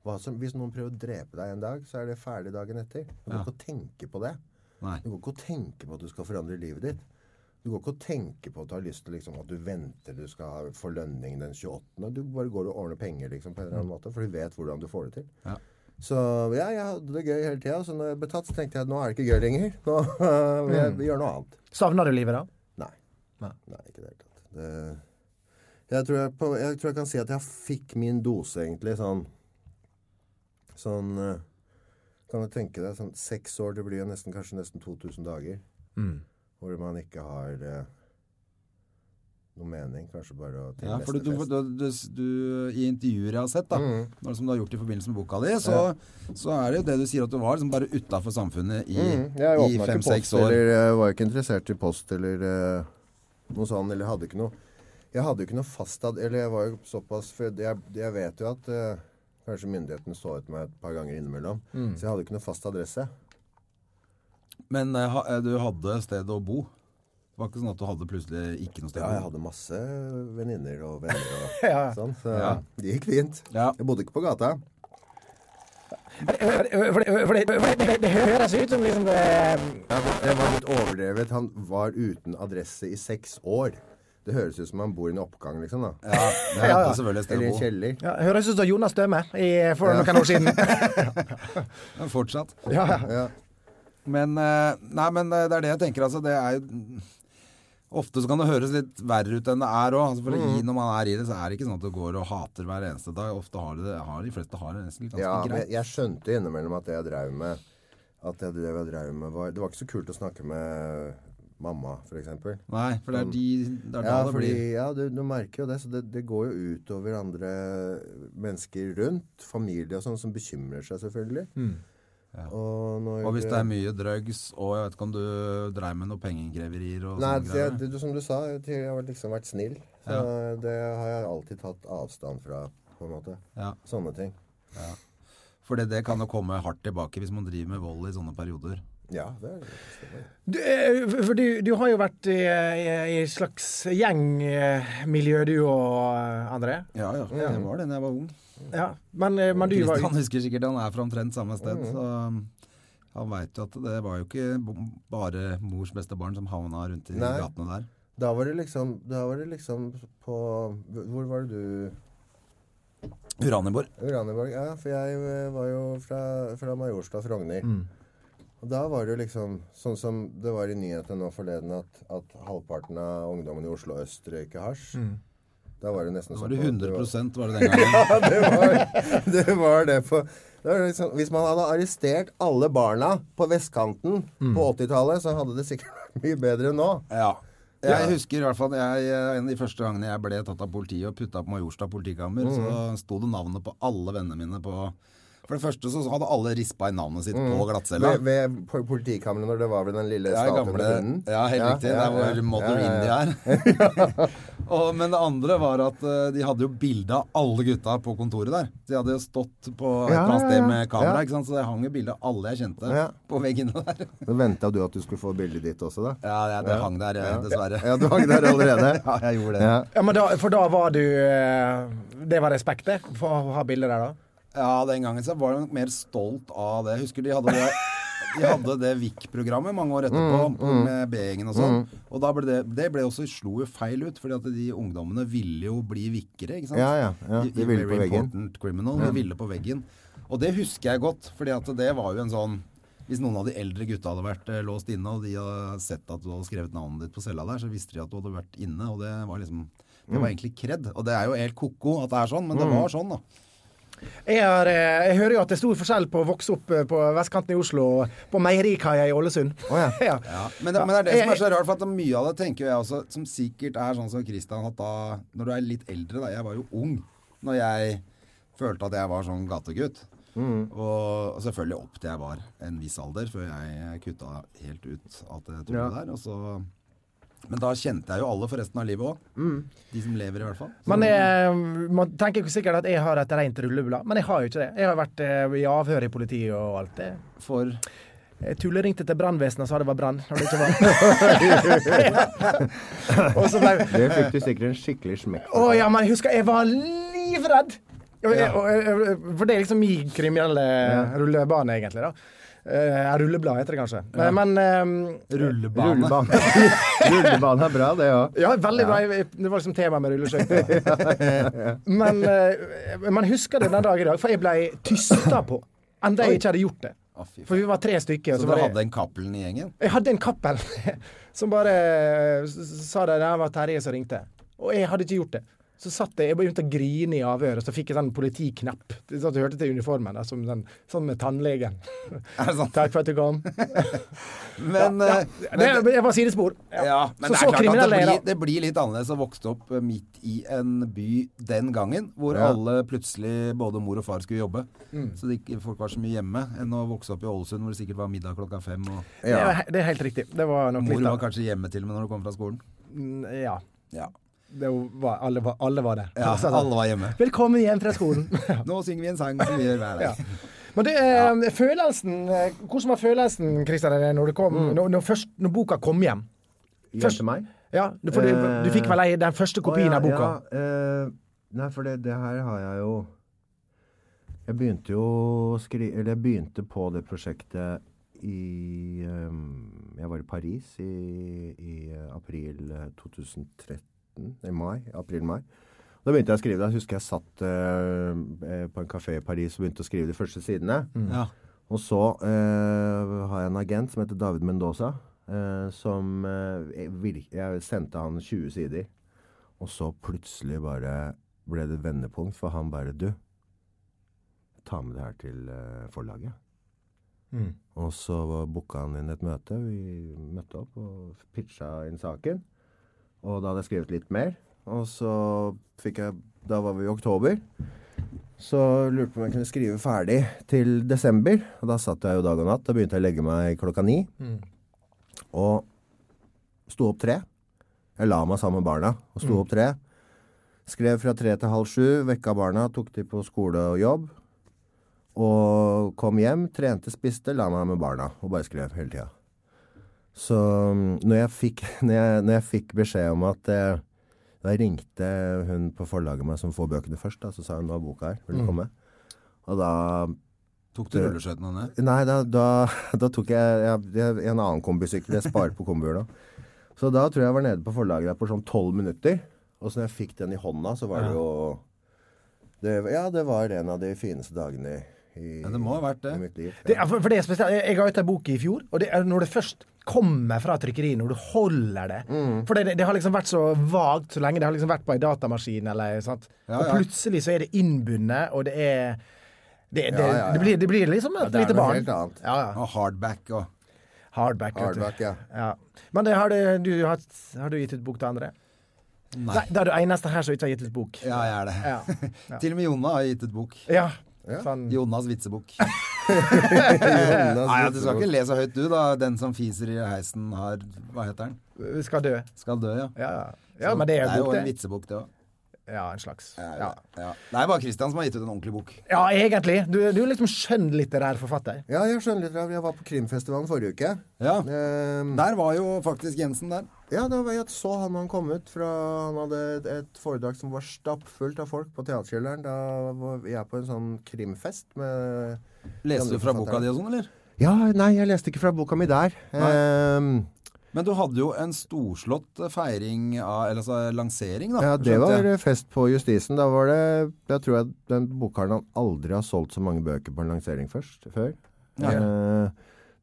Hva som, hvis noen prøver å drepe deg en dag, så er det ferdig dagen etter. Du går ikke og tenker på det.
Nei.
Du går ikke og tenker på at du skal forandre livet ditt. Du går ikke og tenker på at du har lyst til liksom, at du venter du skal ha- få lønning den 28. Du bare går og ordner penger liksom, på en eller annen måte, for du vet hvordan du får det til.
Mm. Ja.
Så ja, jeg hadde det gøy hele tida. Så når jeg ble tatt, så tenkte jeg at nå er det ikke gøy lenger. Nå øh, vil jeg gjøre noe annet.
Savner du livet da?
Nei. Nei, ikke i det hele tatt. Det, jeg, tror jeg, på, jeg tror jeg kan si at jeg fikk min dose, egentlig, sånn Sånn eh, Kan du tenke deg sånn seks år, det blir jo nesten, kanskje nesten 2000 dager
Mm.
hvor man ikke har eh, noe mening. Kanskje bare å til
Ja, for du,
neste
du,
fest. Mm.
du, du, du, I intervjuer jeg har sett, da, når, som du har gjort i forbindelse med boka di, så, så er det jo det du sier at du var liksom bare utafor samfunnet i,
Mm, Jeg
i
åpna ikke
fem-seks
post,
år.
eller eh, var ikke interessert i post eller eh, noe sånt. Eller hadde ikke noe Jeg hadde jo ikke noe fast ad... Eller jeg var jo såpass For jeg, jeg vet jo at eh, kanskje myndighetene så etter meg et par ganger innimellom.
Mm.
Så jeg hadde ikke noe fast adresse.
Men eh, ha- eh, du hadde sted å bo. Det var ikke sånn at du hadde plutselig ikke noe sted
Ja,
å
jeg
bo.
hadde masse venninner og venner og
Ja.
sånn, så
Ja.
det gikk fint.
Ja.
Jeg bodde ikke på gata.
For det, for det, for det, for det, det høres ut som liksom det
Jeg var, jeg var litt overdrevet. Han var uten adresse i seks år. Det høres ut som han bor i en oppgang, liksom. da.
Ja, jeg
Ja,
hadde
ja.
selvfølgelig et sted
Eller i
å
en
bo.
kjeller.
Ja, høres ut som Jonas Døme i, for noen år siden.
Men Fortsatt.
Ja, ja.
Ja.
Men, eh, nei, men eh, det er det jeg tenker, altså. Det er jo Ofte så kan det høres litt verre ut enn det er òg. Altså, for
Mm.
i- når man er i det, så er det ikke sånn at du går og hater hver eneste dag. Ofte har de det, har de fleste har det nesten ganske
Ja, men
greit.
jeg, jeg skjønte innimellom at det jeg drev med, at det jeg drev jeg drev med var, Det var ikke så kult å snakke med mamma, f.eks.
Nei, for det er de Det er
Ja,
da det
fordi,
blir
ja du, du merker jo det. Så det, det går jo ut over andre mennesker rundt. Familie og sånn, som bekymrer seg, selvfølgelig. Og, når,
Hmm. Og hvis det er mye drugs, og jeg vet ikke om du dreiv med noe pengekreverier og
Nei,
sånne
det,
greier.
det, du- som du sa, jeg har liksom vært snill. Så det har jeg alltid tatt avstand fra, på en måte.
Ja.
Sånne ting.
For det, det kan jo komme hardt tilbake hvis man driver med vold i sånne perioder.
Ja, det er
Du, eh, for du, du har jo vært i, i et slags gjengmiljø, du og eh, André.
Ja, ja. Jeg var det da jeg var ung.
Ja. Men, eh, men du var
Kristian husker sikkert han er fra omtrent samme sted.
Mm.
Så um, han veit jo at det var jo ikke b- bare mors beste barn som havna rundt i
Nei.
gatene der.
Da var det liksom, da var det liksom på Hvor var det du
Uranienborg.
Uranienborg, ja. For jeg eh, var jo fra, fra Majorstad, Frogner.
Mm.
Og da var det jo liksom sånn som det var i nyhetene nå forleden, at, at halvparten av ungdommen i Oslo øst røyker hasj. Da var det
Mm.
nesten
Var det
sånn
100
på-
var det den gangen?
det var det, var det på det var liksom, Hvis man hadde arrestert alle barna på vestkanten
Mm.
på 80-tallet, så hadde det sikkert vært mye bedre enn nå.
Ja. Jeg husker i hvert fall jeg, eh, en av de første gangene jeg ble tatt av politiet og putta på Majorstad politikammer,
Mm.
så sto det navnet på alle vennene mine på For det første så hadde alle rispa i navnet sitt
Mm.
på glattcella.
Ved, ved po- politikamrene når det var ved den lille
Ja,
statuen
gamle,
med hunden.
ja, helt riktig. det
ja,
er
ja,
hvor Mother
ja, ja,
India
ja.
er. og, men det andre var at eh, de hadde jo bilde av alle gutta på kontoret der. De hadde jo stått på et eller
Ja,
annet sted
ja, ja.
med kamera,
Ja.
ikke sant? så det hang jo bilde av alle jeg kjente
Ja.
på veggene der.
Så venta du at du skulle få bildet ditt også, da?
Ja, jeg, det hang der, eh, dessverre.
Ja, du hang der allerede?
Ja, jeg gjorde det.
Ja.
Ja, men da, for da var du eh, Det var respektet for å ha bildet der, da?
Ja, den gangen så var jeg nok mer stolt av det. Jeg husker de hadde det, de hadde det VIK-programmet mange år etterpå,
Mm,
med B-gjengen og sånn. Og da ble det, det ble også, slo jo feil ut, fordi at de ungdommene ville jo bli vikkere, ikke sant?
Ja, ja, ja.
I-
De
i
ville på
Very
veggen.
Important Criminal, de ville på veggen. Og det husker jeg godt, fordi at det var jo en sånn hvis noen av de eldre gutta hadde vært eh, låst inne, og de hadde sett at du hadde skrevet navnet ditt på cella der, så visste de at du hadde vært inne, og det var liksom Det
Mm.
var egentlig kred. Og det er jo helt ko-ko at det er sånn, men det var sånn, da.
Jeg, har, eh, jeg hører jo at det er stor forskjell på å vokse opp eh, på vestkanten i Oslo og på meierikaia i Ålesund.
Å,
ja.
Ja, men, det, men det er det som er så rart, for at mye av det tenker jeg også, som sikkert er sånn som Christian, at da, når du er litt eldre, da, jeg var jo ung, når jeg følte at jeg var sånn gategutt,
Mm.
og, og selvfølgelig opp til jeg var en viss alder, før jeg kutta helt ut alt det tullet der, og så... Men da kjente jeg jo alle for resten av livet også. De som lever i hvert fall. Så-
Mm. Man, er, eh, man tenker jo sikkert at jeg har et rent rulleblad, men jeg har jo ikke det. Jeg har vært eh, i avhør i politiet og alt det.
For...
Jeg tulleringte til brannvesenet og sa det var brann, når det ikke var. og så ble
Det fikk du sikkert en skikkelig smekk
Å ja, men jeg husker jeg var livredd! Og, jeg- og, jeg- for det er liksom min kriminelle rullebane, egentlig. da. Eh, rulleblad heter det kanskje. Men, men eh,
Rullebane.
Rullebane. Rullebane er bra, det òg.
Ja, veldig bra. Jeg- Det var liksom tema med rulleskøyter. Men eh, man husker det den dag i dag, for jeg ble tysta på. Enda jeg ikke hadde gjort det.
Å, fy faen.
For vi var tre stykker.
Så
var det-
dere hadde en kappelen i gjengen?
jeg hadde en kappel som bare eh, s- sa det det var Terje som ringte. Og jeg hadde ikke gjort det. Så satt jeg, jeg begynte å grine i avhøret, og så fikk jeg sånn politiknapp. Det satt og hørte til uniformen, da, som den, sånn med tannlegen.
Er det sant?
Takk for at du kom.
Men,
Ja,
eh, men
det, jeg var sidespor.
Ja, men
så
det
så
er klart at
kriminell
det
er jeg da.
blir, det blir litt annerledes å vokse opp eh, midt i en by den gangen, hvor alle plutselig, både mor og far, skulle jobbe.
Mm.
Så de, folk var så mye hjemme, enn å vokse opp i Ålesund, hvor det sikkert var middag klokka fem, og
Det, er, det er helt riktig. Det var nok
mor
litt
var
av
kanskje hjemme til og med når du kom fra skolen.
Ja.
Ja,
Det var, alle, var, alle var det.
ja
Så-
alle var hjemme.
Velkommen hjem fra skolen.
Nå synger vi en sang som vi gjør hver dag.
Men det, eh, følelsen, eh, hvordan var følelsen Christian, når, du kom,
Mm.
når, når, først, når boka kom hjem? Først-
Først meg.
Ja, for du, du fikk vel ei- den første kopien
Eh. Å, ja,
av boka?
Ja, eh, nei, for det, det her har jeg jo Jeg begynte jo å skri... Eller jeg begynte på det prosjektet i eh, Jeg var i Paris i, i eh, april eh, 2013. I mai. April-mai. Da begynte jeg å skrive det. Jeg husker jeg satt eh, eh, på en kafé i Paris og begynte å skrive de første sidene.
Mm.
Ja.
Og så eh, har jeg en agent som heter David Mendoza. eh, som eh, virk, Jeg sendte han 20 sider. Og så plutselig bare ble det et vendepunkt, for han bare Du, ta med det her til eh, forlaget. Og så booka han inn et møte. Vi møtte opp og pitcha inn saken. Og da hadde jeg skrevet litt mer. Og så fikk jeg Da var vi i oktober. Så lurte jeg på om jeg kunne skrive ferdig til desember. Og da satt jeg jo dag og natt. Da begynte jeg å legge meg klokka ni. Og sto opp tre. Jeg la meg sammen med barna og sto opp tre. Skrev fra tre til halv sju, vekka barna, tok de på skole og jobb. Og kom hjem, trente, spiste, la meg med barna og bare skrev hele tida. Så mm, når jeg fikk, når jeg, når jeg fikk beskjed om at eh, da ringte hun på forlaget meg som får bøkene først, da, så sa hun nå er boka her, vil
Mm.
du komme? Og da
Tok du rulleskøytene ned?
Nei, da, da, da tok jeg, jeg, jeg en annen kombisykkel. Jeg sparer på kombihjula. Så da tror jeg jeg var nede på forlaget der på sånn tolv minutter. Og så når jeg fikk den i hånda, så var det jo Det, ja, det var en av de fineste dagene i,
Ja, det må ha vært det.
i
Mm.
mitt liv.
Det, er- for for det er spesielt. Jeg, jeg ga ut ei bok i fjor, og det er når det først kommer fra trykkeriet, når du holder det
Mm.
For det, det, det har liksom vært så vagt så lenge. Det har liksom vært på ei datamaskin eller sant?
Ja,
Og
ja.
plutselig så er det innbundet, og det er Det, det,
Ja, ja, ja.
det, blir, det blir liksom et
det er
lite
noe
barn.
helt annet.
Ja, ja.
Og hardback og
Hardback. vet du.
Hardback, ja.
Ja. Men det har, du, du, har, har du gitt ut bok til andre? Nei. Det er du eneste her som ikke har gitt ut bok.
Ja, jeg er det.
Ja.
Til og med Jonna har gitt ut bok.
Ja. Sånn.
Jonas vitsebok.
Jonas
Eh, Nei, ja, du skal
Witzboe.
ikke le så høyt du, da. Den som fiser i heisen har Hva heter den?
Vi skal dø.
Skal dø, ja.
Ja, ja men det er jo
jo
bok,
en
det.
vitsebok, det òg.
Ja, en slags. Ja,
Ja. Ja. Det er bare Christian som har gitt ut en ordentlig bok.
ja egentlig. Du, du er liksom skjønnlitterær forfatter.
Ja, jeg skjønner litt. Jeg var på Krimfestivalen forrige uke.
Ja.
Ehm,
Der var jo faktisk Jensen der.
ja, da var jeg så han han kom ut fra Han hadde et- et foredrag som var stappfullt av folk på teaterkjelleren. Da var jeg på en sånn krimfest med
Leste du fra boka di og sånn, eller?
Ja, nei, jeg leste ikke fra boka mi der. Ehm,
Men du hadde jo en storslått eh, feiring av Eller altså lansering, da.
ja, det
skjønte
var
jeg.
fest på Justisen. Da var det Jeg tror jeg den bokhandelen aldri har solgt så mange bøker på en lansering først, før.
Nei.
Ehm,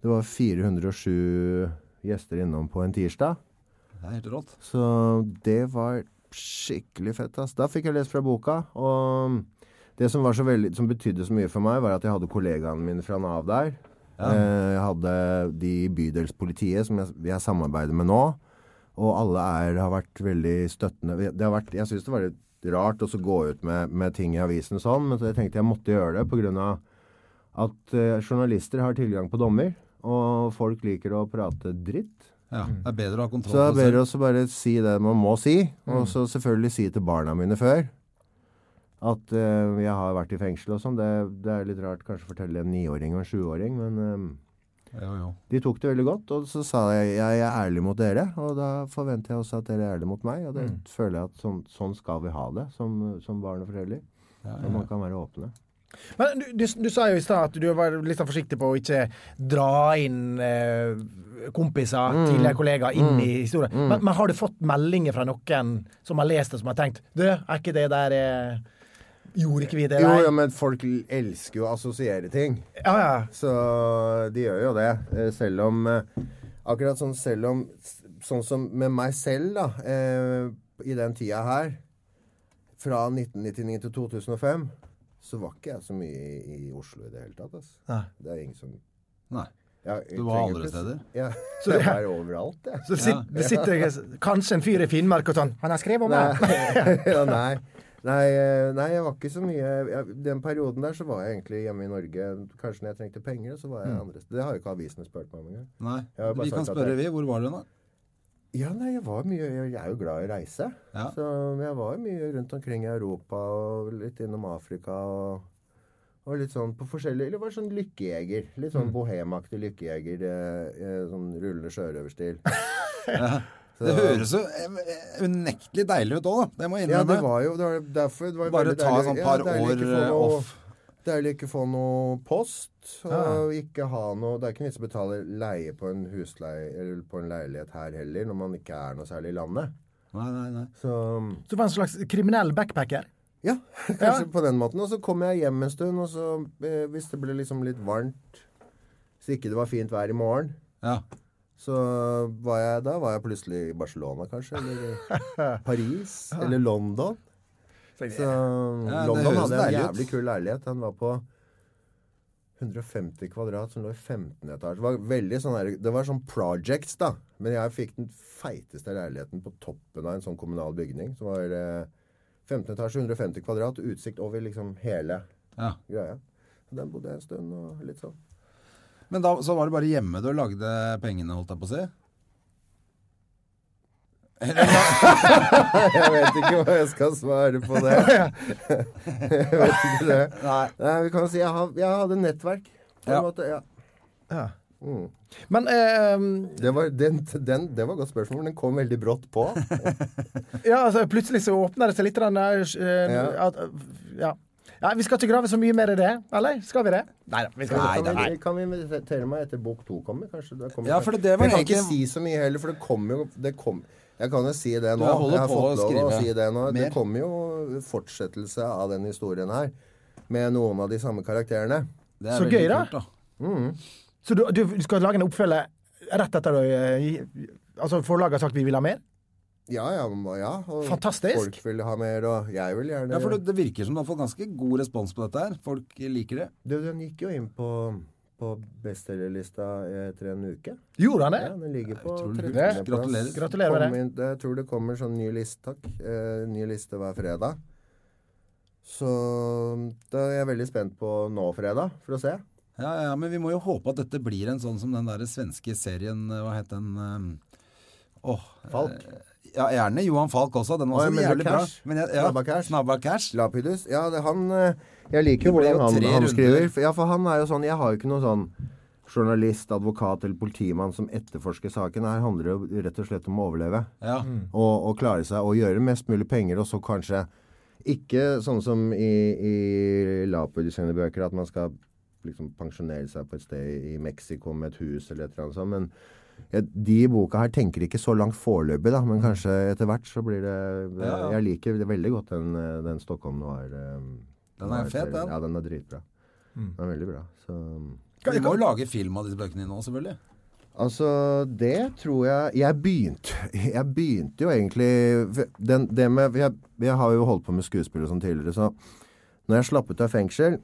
det var 407 gjester innom på en tirsdag.
Det er helt rått.
Så det var skikkelig fett. Ass. Da fikk jeg lest fra boka. Og det som, var så veldig, som betydde så mye for meg, var at jeg hadde kollegaene mine fra Nav der. Eh, Jeg hadde de i bydelspolitiet som jeg, jeg samarbeider med nå. Og alle er, har vært veldig støttende. Vi- Det har vært, jeg syns det var litt rart også å gå ut med, med ting i avisen og sånn, men så jeg tenkte jeg måtte gjøre det pga. at eh, journalister har tilgang på dommer. Og folk liker å prate dritt.
Ja, det er bedre å ha kontroll
Så det er
på det
bedre også bare si det man må si, og så selvfølgelig si til barna mine før at eh, jeg har vært i fengsel og sånn. Det, det er litt rart kanskje å fortelle en niåring og en sjuåring, men
selv. Jo, jo.
eh, de tok det veldig godt. Og så sa jeg jeg er ærlig mot dere, og da forventer jeg også at dere er ærlig mot meg. Og det føler jeg at sånn, sånn skal vi ha det som, som barn og foreldre. Og man kan være åpne.
Men du, du, du sa jo i stad at du var litt sånn forsiktig på å ikke dra inn eh, kompiser,
Mm.
tidligere kollegaer, inn i historien. Men, men har du fått meldinger fra noen som har lest det, som har tenkt Du, er ikke det der eh, Gjorde ikke vi det
Jo,
der?
ja, men folk elsker jo å assosiere ting.
Ja, ja.
Så de gjør jo det. eh, Selv om eh, Akkurat sånn selv om Sånn som med meg selv, da, eh, i den tida her, fra 1999 til 2005, så var ikke jeg så mye i, i Oslo i det hele tatt. ass.
Nei.
Det er ingen som
Nei.
jeg- jeg
Du var
trenger
andre
ikke-
steder?
Ja. Så jeg var overalt, jeg.
Så det sitter, det sitter kanskje en fyr i Finnmark og sånn Han har skrevet om meg!
Nei. ja, nei. Nei, eh, nei, jeg var ikke så mye jeg, Den perioden der så var jeg egentlig hjemme i Norge. Kanskje når jeg trengte penger, så var jeg
Mm.
andre steder. Det har jo ikke avisene spurt meg om engang.
Nei.
Jeg har bare
Vi kan
sagt at
spørre,
jeg-
vi. Hvor var du, da?
Ja, nei, jeg var mye Jeg er jo glad i å reise.
Ja.
Så jeg var mye rundt omkring i Europa og litt innom Afrika og, og litt sånn på forskjellige Eller var sånn lykkejeger. Litt
Mm.
sånn bohemaktig lykkejeger. eh, eh, Sånn rullende sjørøverstil.
Det høres jo eh, unektelig deilig ut òg, da. Det må jeg
Ja,
innrømme.
det var jo det var derfor det var jo
Bare
veldig
ta
deilig-
sånn par
deilig
år,
ikke få noe-
off.
Deilig ikke få noe post. Og ikke ha noe Det er ikke vits å betale leie på en husleie eller på en leilighet her heller, når man ikke er noe særlig i landet.
Nei, nei, nei.
Så
Så det var en slags kriminell backpacker.
Ja, kanskje på den måten. Og så kom jeg hjem en stund, og så eh, hvis det ble liksom litt varmt Så ikke det var fint vær i morgen,
Ja.
så var jeg Da var jeg plutselig i Barcelona, kanskje. Eller Paris. Eller London. Så um,
det
London
høres
hadde en
deilig ut.
jævlig kul leilighet. Den var på 150 kvadrat, som lå i 15 etasjer. Det var veldig sånn der, det var sånn projects, da. Men jeg fikk den feiteste leiligheten på toppen av en sånn kommunal bygning. Som var eh, 15 etasjer, 150 kvadrat, utsikt over liksom hele
ja.
greia. Så Den bodde jeg en stund, og litt sånn.
Men da så var det bare hjemme du lagde pengene, holdt jeg på å si?
Jeg vet ikke hva jeg skal svare på det. Jeg vet ikke det. Nei, vi kan si jeg, har, jeg hadde nettverk. På en
Ja.
måte, ja.
Men eh,
Det var, den, den, det var et godt spørsmål, men den kom veldig brått på.
ja, altså, plutselig så åpner det seg litt. grann, eh,
Ja.
at, ja. Ja, vi skal ikke grave så mye mer i det, eller? Skal vi det? Nei da. Vi skal
Nei,
ikke.
kan,
nei,
vi, kan vi invitere meg etter bok to kommer? Kanskje det kommer
Ja, for det var
Jeg kan
egentlig-
ikke si så mye heller, for det kom jo det kom, Jeg kan jo si det
Du
nå.
holder
Jeg har
på å
fått lov å
skrive
si det nå. Det
mer.
kommer jo fortsettelse av den historien her. Med noen av de samme karakterene. Mm.
Det er
Så
veldig
gøy, da.
kult, da.
Så du, du skal lage en oppfølger rett etter du eh, gi- Altså, forlaget har sagt vi vil ha mer?
Ja, ja, må- ja. Og
Fantastisk.
Folk vil ha mer, og jeg vil gjerne
Ja, for det, det virker som du har fått ganske god respons på dette her. Folk liker det.
Du, den gikk jo inn på, på bestselgerlista etter en uke.
Gjorde han det?
Ja, den ligger på
Utrolig kult.
13. plass.
Gratulerer.
Gratulerer med
Kom
det.
inn- det- Jeg tror det kommer sånn ny liste, takk. Eh, ny liste hver fredag. Så da er jeg veldig spent på nå fredag, for å se.
Ja, ja, men vi må jo håpe at dette blir en sånn som den der svenske serien eh, Hva het den? eh, Åh.
Falk.
Eh. ja, gjerne Johan Falk også. Den var
Oi,
også
men
jævlig bra.
Cash.
Men jeg, ja,
Snabba Cash.
Snabba Cash.
Lapidus. Ja, det, han eh, Jeg liker jo
Det ble
hvordan
jo
han,
tre
han
runder.
skriver. For, ja, for han er jo sånn Jeg har jo ikke noen sånn journalist, advokat eller politimann som etterforsker saken. Her handler det jo rett og slett om å overleve.
Ja.
og, og klare seg og gjøre mest mulig penger, og så kanskje ikke sånn som i, i Lapidus sine bøker, at man skal liksom pensjonere seg på et sted i Mexico med et hus eller et eller annet sånt. Men jeg- de i boka her tenker ikke så langt foreløpig, da, men kanskje etter hvert så blir det
Ja, ja.
Jeg liker det veldig godt den, eh, den Stockholm Noir. eh,
Den er fet,
noir-serien.
den. Mm.
Ja, den er dritbra. Den er veldig bra. Så
Vi må jo lage film av disse bøkene nå, selvfølgelig.
Altså, det tror jeg Jeg begynte, jeg begynte jo egentlig for den, Det med jeg, jeg har jo holdt på med skuespill og sånn tidligere, så når jeg slapp ut av fengsel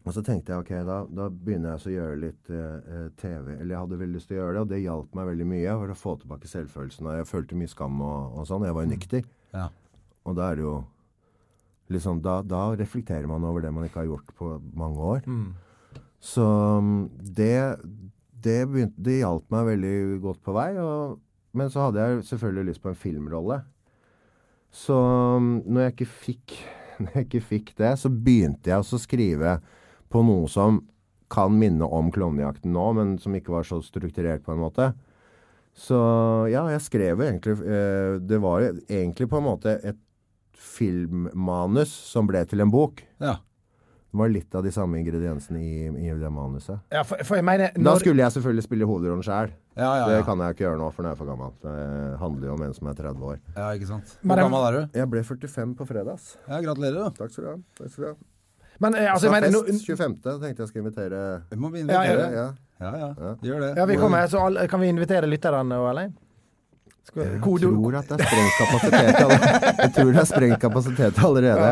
og så tenkte jeg ok, da, da begynner jeg så å gjøre litt eh, eh, TV. Eller jeg hadde veldig lyst til å gjøre det, og det hjalp meg veldig mye for å få tilbake selvfølelsen. Og jeg følte mye skam og, og sånn. og Jeg var jo nykter.
Ja.
Og da er det jo liksom, da, da reflekterer man over det man ikke har gjort på mange år. Så mm, det, det, begynte, det hjalp meg veldig godt på vei. Og, men så hadde jeg selvfølgelig lyst på en filmrolle. Så mm, når jeg ikke fikk, når jeg ikke fikk det, så begynte jeg også å skrive på noe som kan minne om klovnejakten nå, men som ikke var så strukturert på en måte. Så ja, jeg skrev egentlig eh, Det var jo egentlig på en måte et filmmanus som ble til en bok.
Ja.
Det var litt av de samme ingrediensene i, i det manuset.
Ja, for, for jeg mener
Da
når,
skulle jeg selvfølgelig spille hovedrollen sjæl.
Ja, ja,
Det
ja.
kan jeg ikke gjøre nå, for nå er jeg for gammel. Det handler jo om en som er 30 år.
ja, ikke sant.
Men
Hvor
det-
gammel er du?
Jeg ble 45 på fredags.
Ja, Gratulerer, da.
Takk skal du ha. Takk skal du ha.
Men, eh, altså,
Altså,
jeg mener
fest
nå-
25. tenkte jeg skulle invitere
Vi må begynne
Ja,
å
ja,
invitere.
ja.
Ja, ja. Gjør det.
Ja, vi kommer, så alle, kan vi invitere lytterne òg, eller? Skal,
Jeg
Eh, kode,
tror at det er sprengt kapasitet allerede. Jeg tror det er sprengt kapasitet allerede.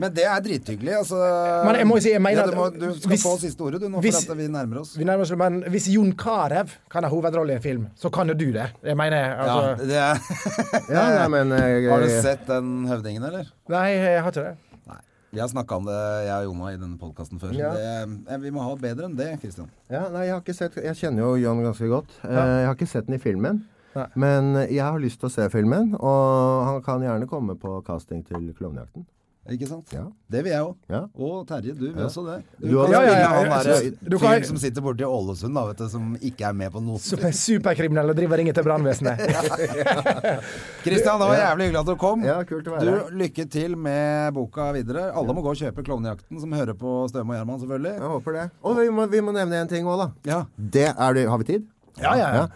Men det er drithyggelig. Altså,
Men jeg må jo si, jeg mener
ja, du, må,
at-
du skal
hvis-
få siste ordet du, nå,
hvis-
for at vi nærmer oss.
vi nærmer oss, men hvis Jon Carew kan ha hovedrolle i en film, så kan jo du det. Jeg mener,
Ja,
altså
det er,
Ja, nei, men eh, jeg,
har du sett den høvdingen, eller?
Nei, jeg har ikke det.
Nei. Vi har snakka om det, jeg og Jona, i denne podkasten før.
Ja.
Det, eh, vi må ha bedre enn det, Kristian.
Ja, nei, jeg har ikke sett Jeg kjenner jo John ganske godt. Eh, Jeg har ikke sett den i filmen.
Nei.
Men jeg har lyst til å se filmen, og han kan gjerne komme på casting til Klovnejakten.
Ikke sant?
Ja.
Det vil jeg òg.
Ja.
Og Terje, du vil også det. Du,
Du
kan
også-
spille
Ja, ja, ja,
han
ja.
derre
Så- du kan-
fyren som sitter borte i Ålesund, da, vet du, som ikke er med på noe.
Som er superkriminell og driver og ringer til brannvesenet.
Kristian, det var jævlig hyggelig at du kom.
Ja, kult å være her.
Du, Lykke til med boka videre. Alle må gå og kjøpe Klovnejakten, som hører på Støme og Gjerman, selvfølgelig.
Jeg håper det. Og vi må, vi må nevne en ting òg, da.
Ja.
Det er det, har vi tid?
Ja, ja, ja.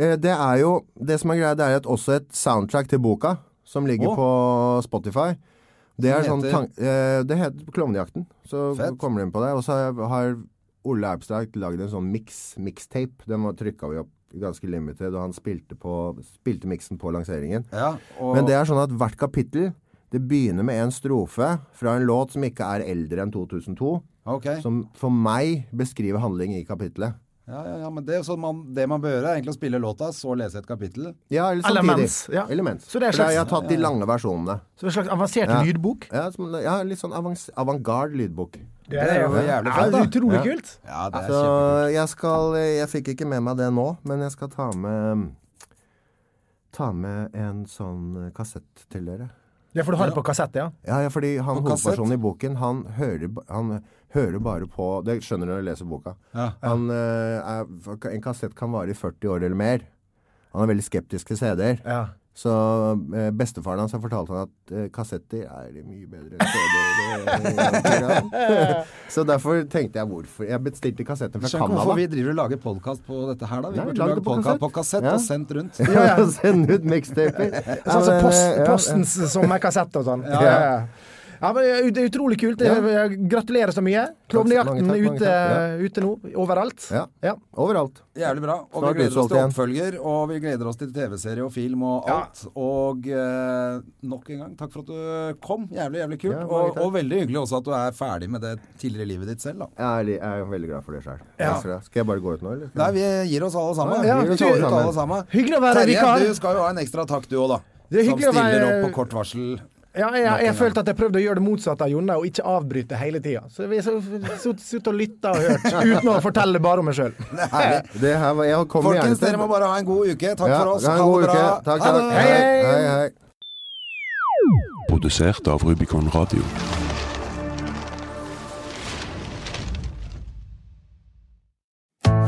Eh, Det er jo Det som er greia, det er at også et soundtrack til boka, som ligger
Å.
på Spotify. Det er
Som
sånn
heter?
tan eh, Det heter Klovnejakten. Så
Fett.
kommer den på det. Og så har- har Ole Erbstad lagd en sånn mix, mixtape. Den var- trykka vi opp ganske limited, og han spilte, på, spilte mixen på lanseringen.
Ja, og,
Men det er sånn at hvert kapittel det begynner med en strofe fra en låt som ikke er eldre enn 2002,
Ok.
som for meg beskriver handling i kapitlet.
Ja, ja, ja, men det, er sånn man, det man bør gjøre, er egentlig å spille låta, så lese et kapittel.
Ja, eller
Eller
samtidig.
mens, ja.
Eller mens.
Så det er
For
slags-
jeg har tatt de lange versjonene.
Så en slags avansert
Ja.
lydbok.
Ja, som, ja litt sånn avans avantgarde lydbok.
Det
er jo jævlig fett, da.
Ja, utrolig kult.
Ja, det er
Så
kjempe...
jeg skal Jeg fikk ikke med meg det nå, men jeg skal ta med Ta med en sånn kassett til dere.
Ja, for du har det på kassett, ja?
Ja, ja fordi han
Og kassett?
hovedpersonen i boken, han hører, ba- han hører bare på Det skjønner du når du leser boka.
Ja.
Han, eh, er, en kassett kan vare i 40 år eller mer. Han er veldig skeptisk til CD-er.
Ja.
Så eh, bestefaren hans har fortalt han at eh, kassetter er de mye bedre enn CD-er. og- Så derfor tenkte jeg hvorfor. Jeg bestilte kassetter fra
Skjønner ikke hvorfor
Canada.
vi driver og lager podkast på dette her, da. Vi
Nei,
burde
lag
lage
det på
podkast
kassett.
på kassett
Ja.
og sendt rundt.
Ja, ja, send ut mixtaper.
Sånn som
Ja, men,
post,
eh, ja,
Postens sommerkassett og sånn. Ja, ja. Ja, men det er Utrolig kult.
Ja.
Gratulerer så mye.
Mange
Klovnejakten
takk,
er
mange
ute,
takk,
ute nå, overalt.
Ja. Overalt.
Jævlig bra. Og
Snart
vi gleder oss til
utsolgt
oppfølger, og vi gleder oss til TV-serie og film og
Ja.
alt. Og eh, nok en gang, takk for at du kom. Jævlig, jævlig kult.
Ja, mange
og,
takk.
og veldig hyggelig også at du er ferdig med det tidligere livet ditt selv, da.
Jeg er, li- jeg er veldig glad for det sjøl. Skal jeg bare gå ut nå, eller?
Nei, vi gir oss alle sammen.
Ja,
vi
vi
tar ut
tar sammen.
alle sammen.
Hyggelig å være
Terje,
vikar.
du skal jo ha en ekstra takk, du òg, da.
Det er
Som
hyggelig å
stiller
være-
opp på kort varsel.
Ja, jeg, jeg,
Nok en
følte at jeg prøvde å gjøre det motsatte av Jonna, og ikke avbryte hele tida. Så vi sittet og lytta og hørt, uten å fortelle bare om meg sjøl.
Herlig.
Det her var, jeg kommer gjerne
Folkens,
til-
dere må bare ha en god uke. Takk
Ja,
for oss.
ha en god uke. Takk,
Ha
takk.
det.
Hei, hei. hei.
Produsert av Rubicon Radio.